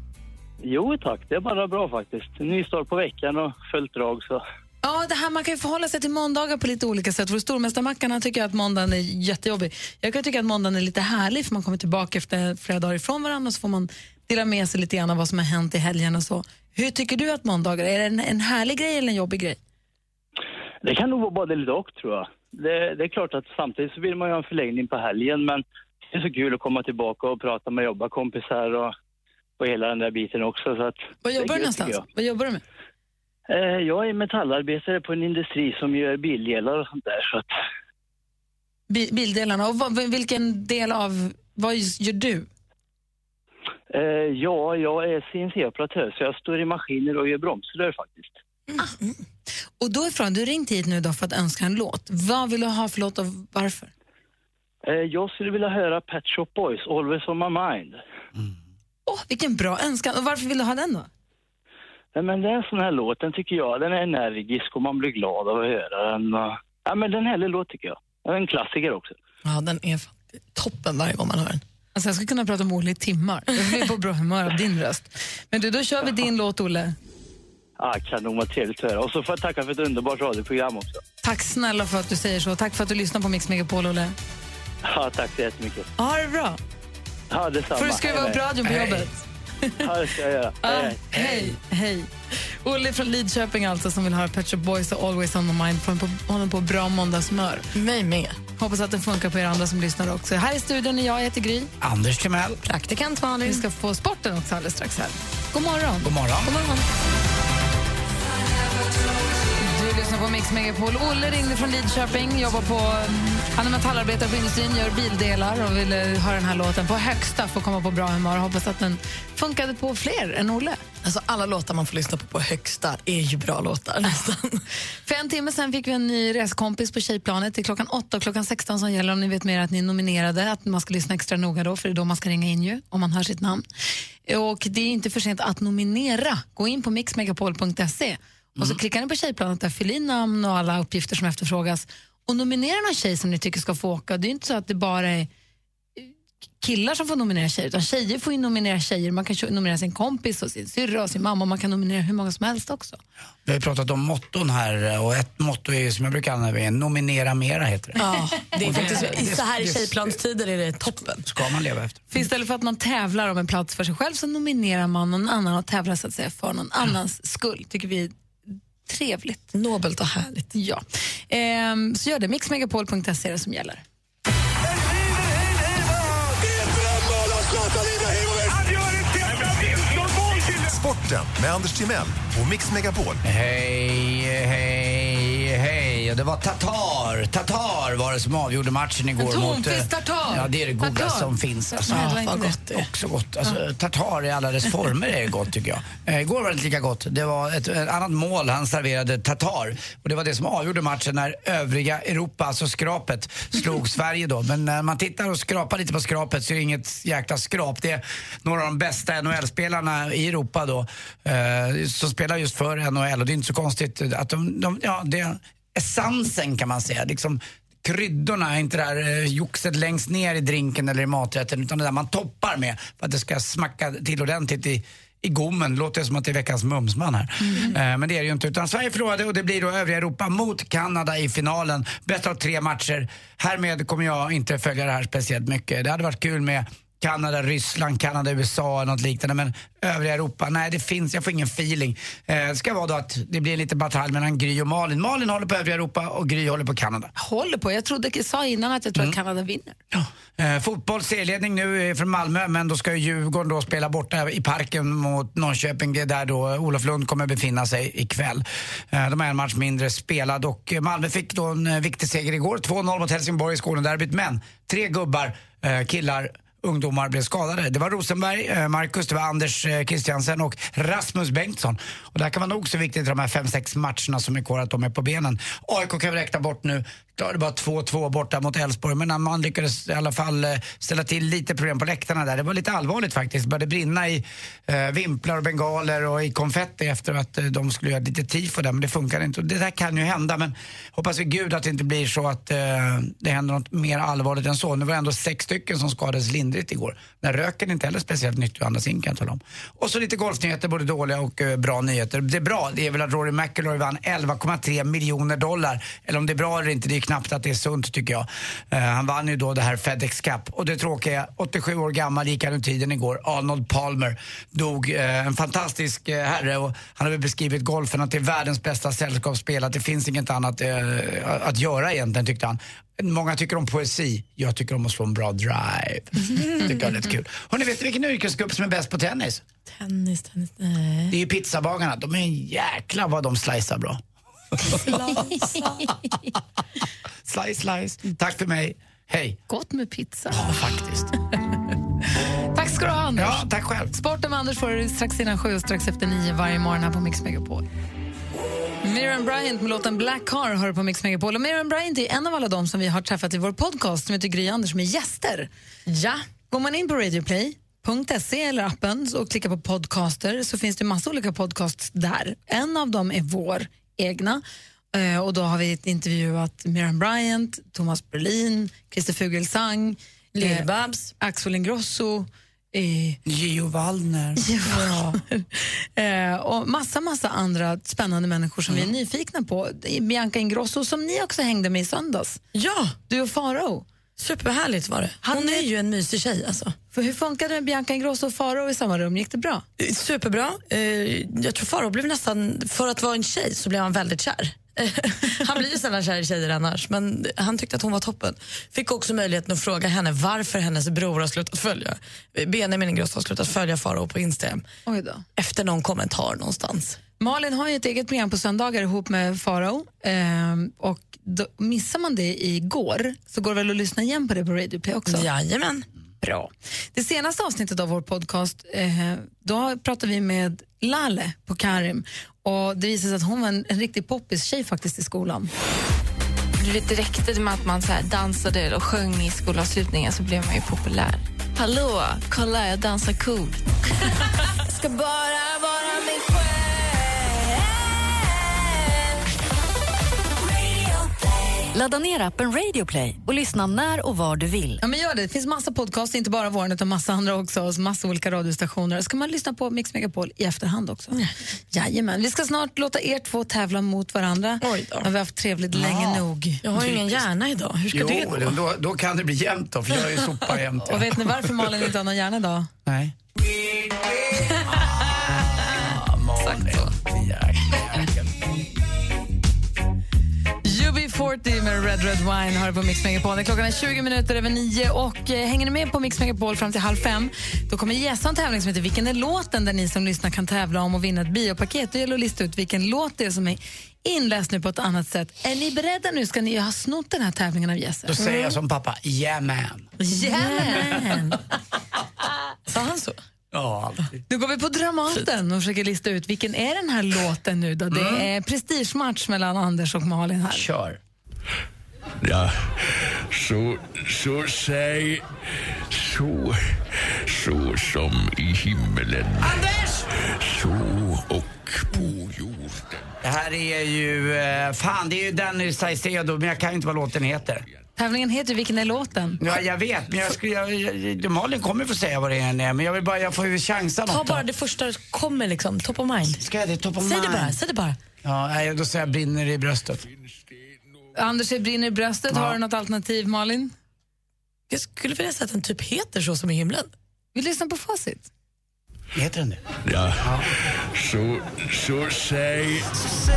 Speaker 12: Jo tack, det är bara bra faktiskt. Ny start på veckan och fullt drag så.
Speaker 5: Ja, det här, man kan ju förhålla sig till måndagar på lite olika sätt. För stormästarmackarna tycker att måndagen är jättejobbig. Jag kan tycka att måndagen är lite härlig för man kommer tillbaka efter flera dagar ifrån varandra och så får man dela med sig lite grann av vad som har hänt i helgen och så. Hur tycker du att måndagar är? Är det en, en härlig grej eller en jobbig grej?
Speaker 12: Det kan nog vara både lite och tror jag. Det, det är klart att samtidigt så vill man ju ha en förlängning på helgen men det är så kul att komma tillbaka och prata med jobbarkompisar och, och hela den där biten också. Så att
Speaker 5: Vad
Speaker 12: det är
Speaker 5: jobbar du
Speaker 12: gött, tycker
Speaker 5: någonstans? Vad jobbar du med?
Speaker 12: Jag. Eh, jag är metallarbetare på en industri som gör bildelar och sånt där så att
Speaker 5: Bi- bildelarna. Och vad, vilken del av... Vad gör du?
Speaker 12: eh, ja, jag är CNC-operatör så jag står i maskiner och gör bromsrör faktiskt.
Speaker 5: Ah. Och då är frågan, du har ringt hit nu idag för att önska en låt. Vad vill du ha för låt och varför?
Speaker 12: Eh, jag skulle vilja höra Pet Shop Boys, Always on my mind.
Speaker 5: Åh, vilken bra önskan. Och varför vill du ha den då?
Speaker 12: Nej, men det är en sån här låt, den tycker jag, den är energisk och man blir glad av att höra den. och- Ja, men den här låt tycker jag. Den är en klassiker också.
Speaker 7: Ja, den är fan- toppen varje gång man hör den.
Speaker 5: Alltså jag skulle kunna prata om Olle i timmar. Jag blir på bra humör av din röst. Men du, då kör vi din låt, Olle.
Speaker 12: Ah, kanon, vad trevligt att höra. Och så får jag tacka för ett underbart radioprogram också.
Speaker 5: Tack snälla för att du säger så. Tack för att du lyssnar på Mix Megapol, Olle.
Speaker 12: Ja, tack så jättemycket.
Speaker 5: Ha det bra.
Speaker 12: Ja, detsamma.
Speaker 5: Får du skruva upp radion på jobbet?
Speaker 12: Ja, det ska
Speaker 5: (laughs)
Speaker 12: jag göra.
Speaker 5: Ah,
Speaker 12: Hej, hej.
Speaker 5: hej, hej. Olle från Lidköping alltså som vill höra Pet Shop Boys och Always on my mind. Får honom på, honom på bra måndagshumör.
Speaker 7: Mig med.
Speaker 5: Hoppas att den funkar på er andra som lyssnar också. Här i studion är jag, jag heter Gry.
Speaker 6: Anders Timell.
Speaker 5: Praktikant Malin. Vi ska få sporten också alldeles strax här. God morgon.
Speaker 6: God morgon.
Speaker 5: Du lyssnar på Mix Megapol. Olle ringde från Lidköping, jobbar på, mm, han är metallarbetare på industrin, gör bildelar och ville höra den här låten på högsta för att komma på bra humör. Hoppas att den funkade på fler än Olle.
Speaker 7: Alltså alla låtar man får lyssna på på högsta är ju bra låtar nästan.
Speaker 5: För en timme sen fick vi en ny reskompis på tjejplanet. Det är klockan 8 och klockan 16 som gäller om ni vet mer att ni är nominerade. Att man ska lyssna extra noga då, för det är då man ska ringa in ju, om man hör sitt namn. Och det är inte för sent att nominera. Gå in på mixmegapol.se och så klickar ni på tjejplanet där, fyll in namn och alla uppgifter som efterfrågas och nominera någon tjej som ni tycker ska få åka. Det är inte så att det bara är killar som får nominera tjejer, utan tjejer får ju nominera tjejer. Man kan nominera sin kompis och sin syrra och sin mamma. Man kan nominera hur många som helst också.
Speaker 6: Vi har ju pratat om motton här och ett motto är, ju som jag brukar använda är nominera mera heter det.
Speaker 7: Ja, det är
Speaker 6: Och
Speaker 7: faktiskt, Eh, så här i
Speaker 6: det-
Speaker 7: tjejplanstider är det toppen.
Speaker 6: Ska man leva efter.
Speaker 5: För istället för att man tävlar om en plats för sig själv så nominerar man någon annan och tävlar så att säga för någon annans skull. Tycker vi är trevligt.
Speaker 7: Nobelt och härligt.
Speaker 5: Ja. Ehm, så gör det. Mixmegapol.se är det som gäller.
Speaker 11: Sporten med Anders Timell och Mix Megapol.
Speaker 6: Hej, hej, hej. Och det var Tatar. Tatar var det som avgjorde matchen igår.
Speaker 5: En
Speaker 6: mot, eh,
Speaker 5: tonfisk tartar.
Speaker 6: Ja, det är det godaste
Speaker 5: Tartar.
Speaker 6: som finns. Alltså,
Speaker 5: Jag gillar inte det.
Speaker 6: Också gott. Alltså, Tartar i alla dess former är gott tycker
Speaker 10: (laughs)
Speaker 6: jag. Eh, igår var det inte lika gott. Det var ett, ett annat mål han serverade Tatar. Och det var det som avgjorde matchen när övriga Europa, alltså skrapet, slog Sverige då. Men när man tittar och skrapar lite på skrapet så är det inget jäkla skrap. Det är några av de bästa NHL-spelarna i Europa då eh, som spelar just för NHL. Och det är inte så konstigt att de, de ja, det är essensen kan man säga. Liksom, kryddorna, inte det här eh, joxet längst ner i drinken eller i maträtten utan det där man toppar med för att det ska smacka till ordentligt i, i gommen. Låter det som att det är veckans mumsman här. Eh, men det är det ju inte. Utan Sverige förlorade och det blir då övriga Europa mot Kanada i finalen. Bästa av tre matcher. Härmed kommer jag inte följa det här speciellt mycket. Det hade varit kul med Kanada, Ryssland, Kanada, USA eller något liknande. Men övriga Europa, nej det finns, jag får ingen feeling. Eh, Det ska vara då att det blir en liten batalj mellan Gry och Malin. Malin håller på övriga Europa och Gry håller på Kanada.
Speaker 5: Håller på. Jag trodde, jag sa innan att jag
Speaker 6: Mm.
Speaker 5: tror att Kanada vinner.
Speaker 6: Eh, fotboll, serieledning nu eh, från Malmö, men då ska ju Djurgården då spela borta i parken mot Norrköping. Det är där då Olof Lund kommer befinna sig ikväll. Eh, de har en match mindre spelad och eh, Malmö fick då en eh, viktig seger igår. 2-0 mot Helsingborg i Skånederbyt, men tre gubbar, eh, killar, ungdomar blev skadade. Det var Rosenberg, eh, Marcus, det var Anders eh, Christiansen och Rasmus Bengtsson. Och det här kan vara nog så viktigt i de här fem sex matcherna som är kvar, att de är på benen. AIK kan vi räkna bort nu. Klarade bara 2-2 borta mot Elfsborg, men man lyckades i alla fall eh, ställa till lite problem på läktarna där. Det var lite allvarligt faktiskt. Det började brinna i eh, vimplar och bengaler och i konfetti efter att eh, de skulle göra lite tifo där, men det funkade inte. Och det där kan ju hända, men hoppas vi gud att det inte blir så att eh, det händer något mer allvarligt än så. Nu var det ändå sex stycken som skadades lindrigt igår. När röken är inte heller speciellt nyttig att andas in kan jag tala om. Och så lite golfnyheter, både dåliga och eh, bra nyheter. Det är bra, det är väl att Rory McIlroy vann 11,3 miljoner dollar. Eller om det är bra eller inte, det är knappt att det är sunt tycker jag. Eh, han vann ju då det här Fedex Cup. Och det tråkiga, 87 år gammal gick han ur tiden igår. Arnold Palmer dog, eh, en fantastisk eh, herre och han har väl beskrivit golfen att det är världens bästa sällskapsspel, att det finns inget annat eh, att göra egentligen tyckte han. Många tycker om poesi, jag tycker om att slå en bra
Speaker 5: (laughs)
Speaker 6: drive. Tycker jag är lite kul. Hörrni, vet ni vilken yrkesgrupp som är bäst på tennis?
Speaker 7: Tennis, tennis,
Speaker 6: Det är ju pizzabagarna. De är jäkla vad de slicear bra. (laughs) Slice, slice. Tack för mig. Hej.
Speaker 5: Gott med pizza.
Speaker 6: Ja, faktiskt.
Speaker 5: Tack ska du ha, Anders.
Speaker 6: Ja, tack själv.
Speaker 5: Sporten med Anders får du strax innan sju och strax efter nio varje morgon här på Mix Megapol. Miriam Bryant med låten Black Car hör du på Mix Megapol. Och Miriam Bryant är en av alla dem som vi har träffat i vår podcast som heter Gry Anders med gäster. Ja. Går man in på radioplay.se eller appen och klickar på podcaster så finns det massa olika podcasts där. En av dem är vår egna Eh, och då har vi intervjuat Miriam Bryant, Thomas Berlin, Christer Fuglesang,
Speaker 7: Lill-Babs.
Speaker 5: eh, Axel Ingrosso, eh,
Speaker 6: Gio Wallner.
Speaker 5: Ja. eh, och massa, massa andra spännande människor som vi är nyfikna på. Bianca Ingrosso som ni också hängde med i söndags.
Speaker 7: Ja.
Speaker 5: Du och Farao.
Speaker 7: Superhärligt var det. Hon är ju en mysig tjej alltså.
Speaker 5: För hur funkade det med Bianca Ingrosso och Farao i samma rum? Gick det bra?
Speaker 7: Eh, Superbra. Eh, Jag tror Farao blev nästan, för att vara en tjej så blev han väldigt kär. Eh, han blir ju sällan kär i tjejer annars, men han tyckte att hon var toppen. Fick också möjligheten att fråga henne varför hennes bror har slutat följa, Benjamin Ingrosso har slutat följa Farao på Instagram.
Speaker 5: Oj då.
Speaker 7: Efter någon kommentar någonstans.
Speaker 5: Malin har ju ett eget program på söndagar ihop med Farao. ehm, och då, missar man det igår så går det väl att lyssna igen på det på Radio Play också?
Speaker 7: Jajamän.
Speaker 5: Bra. Det senaste avsnittet av vår podcast, eh, då pratade vi med Lale på Karim och det visade sig att hon var en, en riktig poppis-tjej faktiskt i skolan.
Speaker 1: Du vet, det räckte med att man så här dansade och sjöng i skolavslutningen så blev man ju populär. Hallå, kolla jag dansar
Speaker 10: (laughs)
Speaker 1: coolt.
Speaker 14: Ska bara vara mig själv.
Speaker 4: Ladda ner appen Radio Play och lyssna när och var du vill.
Speaker 5: Ja, men gör det. det finns massa podcast, inte bara vår utan massa andra också, och massa olika radiostationer. Ska man lyssna på Mix Megapol i efterhand också? Jajamän. Vi ska snart låta er två tävla mot varandra. Oj då. Har vi haft trevligt länge nog.
Speaker 7: Jag har ju ingen hjärna idag. Hur ska
Speaker 6: jo,
Speaker 7: det gå?
Speaker 6: Då, då kan det bli jämnt då, för jag är ju sopar jämt.
Speaker 5: Och vet ni varför Malin inte har någon hjärna idag?
Speaker 7: (laughs)
Speaker 6: Nej. Ah,
Speaker 5: UB40 med Red Red Wine har du på Mix Megapol. Det är Klockan är 20 minuter över nio och eh, hänger ni med på Mix Megapol fram till halv fem då kommer Jessa ha en tävling som heter Vilken är låten? där ni som lyssnar kan tävla om och vinna ett biopaket. Det gäller att lista ut vilken låt det är som är inläst nu på ett annat sätt. Är ni beredda nu? Ska ni ju ha snott den här tävlingen av Jesse?
Speaker 6: Då säger jag som pappa, yeah man.
Speaker 5: Jajamän! Sa han så?
Speaker 6: Ja, alltid.
Speaker 5: Nu går vi på Dramaten och försöker lista ut vilken är den här låten nu då? Det är prestigematch mellan Anders och Malin här.
Speaker 6: Mm. Kör.
Speaker 26: Ja, så, så säg... Så, så som i himmelen. Anders! Så och på jorden.
Speaker 6: Det här är ju, eh, fan det är ju Danny Saucedo, men jag kan ju inte vad låten heter.
Speaker 5: Tävlingen heter ju Vilken är låten?
Speaker 6: Ja, jag vet, men jag skulle, jag, jag, Malin kommer få säga vad det än är, men jag vill bara, jag får ju chansa
Speaker 7: Ta
Speaker 6: något då.
Speaker 7: bara det första som kommer, liksom. top of mind.
Speaker 6: Ska jag det? Top of
Speaker 7: säg
Speaker 6: mind?
Speaker 7: Det bara, säg det bara.
Speaker 6: Ja, nej, då säger jag brinner i bröstet.
Speaker 5: Anders, det brinner i bröstet. Har du något alternativ, Malin?
Speaker 7: Jag skulle vilja säga att den typ heter så som i himlen.
Speaker 5: Vi lyssnar på facit.
Speaker 6: Heter den det?
Speaker 26: Ja, så, så säg... Så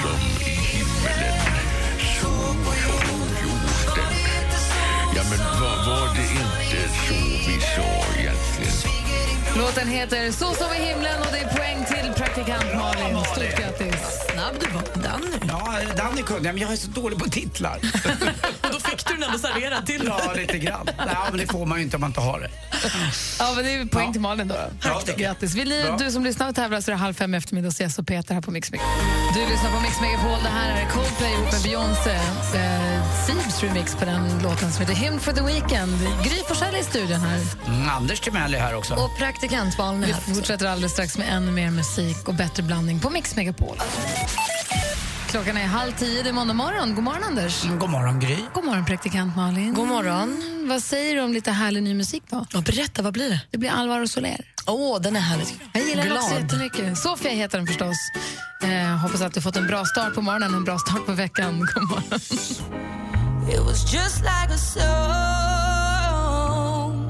Speaker 26: som i himmelen. Så och på jorden. Ja, men var, var det inte så vi sa egentligen?
Speaker 5: Låten heter Så som i himlen och det är poäng till praktikant Malin. Stort grattis. Snabb du var, Danny.
Speaker 6: Ja, Danny kunde jag, men jag är så dålig på titlar.
Speaker 7: Och då fick du den ändå serverad till dig.
Speaker 6: Ja, lite grann. Nej, men det får man ju inte om man inte har det.
Speaker 5: Ja, men det är poäng till Malin då. Tack, grattis. Vill ni,
Speaker 6: Bra.
Speaker 5: du som lyssnar och tävlar så är det halv fem i eftermiddag hos Jess och Peter här på Mix Megapol. Du lyssnar på Mix Megapol. Det här är Coldplay ihop med Beyoncé. Eh, Sibs remix på den låten som heter Hymn for the Weekend. Gry Forssell är i studion här.
Speaker 6: Mm, Anders Timell är här också.
Speaker 5: Och praktikant Malin Vi fortsätter alldeles strax med ännu mer musik och bättre blandning på Mix Megapol. Klockan är halv tio, det är måndag morgon. God morgon, Anders.
Speaker 6: God morgon, Gry.
Speaker 5: God morgon, praktikant Malin.
Speaker 7: God morgon.
Speaker 5: Mm, vad säger du om lite härlig ny musik då?
Speaker 7: Ja, berätta, vad blir det?
Speaker 5: Det blir Alvaro Soler.
Speaker 7: Åh, den är härligt.
Speaker 5: Jag gillar den också
Speaker 7: Glad.
Speaker 5: jättemycket. Sofia heter den förstås. Eh, hoppas att du fått en bra start på morgonen och en bra start på veckan. God morgon.
Speaker 14: It was just like a song.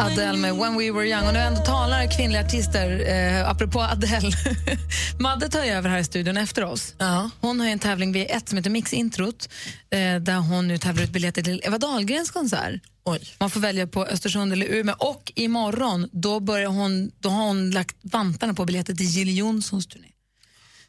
Speaker 5: Adele med When We Were Young. Och nu ändå talar kvinnliga artister, eh, apropå Adele. (laughs) Madde tar ju över här i studion efter oss. Hon har ju en tävling vid ett som heter Mix Introt eh, där hon nu tävlar ut biljetter till Eva Dahlgrens konsert. Man får välja på Östersund eller Umeå och imorgon då, börjar hon, då har hon lagt vantarna på biljetter till Jill Johnsons turné.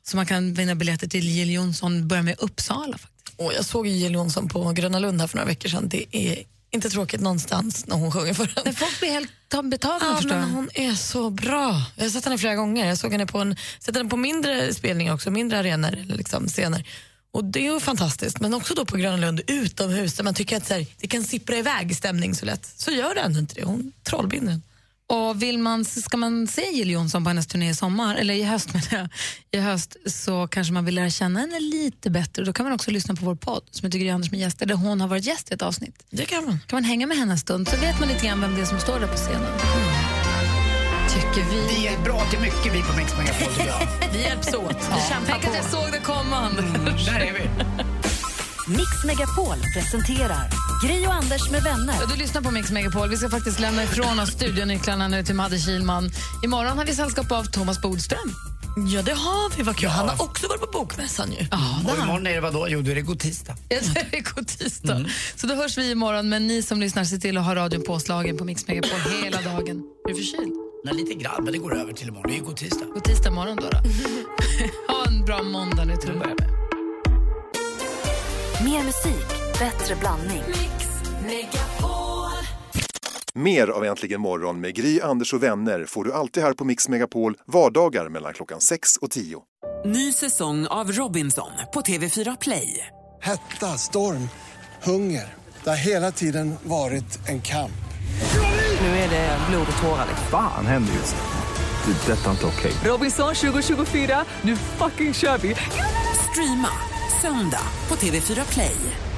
Speaker 5: Så man kan vinna biljetter till Jill Johnson, börja med Uppsala. faktiskt.
Speaker 7: Och jag såg ju Jill Johnson på Gröna Lund här för några veckor sedan. Det är inte tråkigt någonstans när hon sjunger för en.
Speaker 5: Folk blir helt ta- betagna
Speaker 7: Ja,
Speaker 5: förstår
Speaker 7: men
Speaker 5: jag.
Speaker 7: hon är så bra. Jag har sett henne flera gånger. Jag såg henne på, en, sett henne på mindre spelningar också, mindre arenor eller liksom scener. Och det är ju fantastiskt, men också då på Gröna Lund utomhus där man tycker att så här, det kan sippra iväg stämning så lätt. Så gör det ändå inte det. Hon trollbinder den.
Speaker 5: Och vill man, ska man se Jill Johnson på hennes turné i sommar, eller i höst menar jag, i höst så kanske man vill lära känna henne lite bättre. Då kan man också lyssna på vår podd som heter Gry Anders med gäster där hon har varit gäst i ett avsnitt.
Speaker 7: Det kan man.
Speaker 5: Kan man hänga med henne en stund så vet man lite grann vem det är som står där på scenen. Tycker vi.
Speaker 6: Det är bra till mycket vi på Mix Megapol tycker jag. Mm,
Speaker 7: Vi hjälps åt. Vi
Speaker 5: Tänk att jag såg det komma, Anders.
Speaker 6: Där är vi.
Speaker 4: Mix Megapol presenterar Gry och Anders med vänner.
Speaker 5: Ja, Du lyssnar på Mix Megapol. Vi ska faktiskt lämna ifrån oss studionycklarna nu till Madde Kilman. Imorgon har vi sällskap av Thomas Bodström.
Speaker 7: Ja, det har vi. Vad kul. Han har också varit på bokmässan ju.
Speaker 6: Och imorgon är det vadå? Jo, då är det god tisdag.
Speaker 5: Ja, det är god tisdag.
Speaker 6: Mm.
Speaker 5: Så då hörs vi imorgon, men ni som lyssnar, se till att ha radion påslagen på Mix Megapol hela dagen. Är du förkyld?
Speaker 6: Nej, lite grann, men det går över till imorgon. Det är ju god tisdag.
Speaker 5: God tisdag morgon då. (laughs) då. ha en bra måndag nu till att börja med.
Speaker 27: Mer musik, bättre blandning.
Speaker 11: Mer av Äntligen morgon med Gry, Anders och vänner får du alltid här på Mix Megapol vardagar mellan klockan 6 och 10.
Speaker 10: Ny säsong av Robinson på TV4 Play.
Speaker 28: Hetta, storm, hunger. Det har hela tiden varit en kamp.
Speaker 10: Nu är det blod och tårar. liksom.
Speaker 12: Fan händer just nu. Det. är Detta är inte okej.
Speaker 10: Robinson 2024, nu fucking kör vi! Streama söndag på TV4 Play.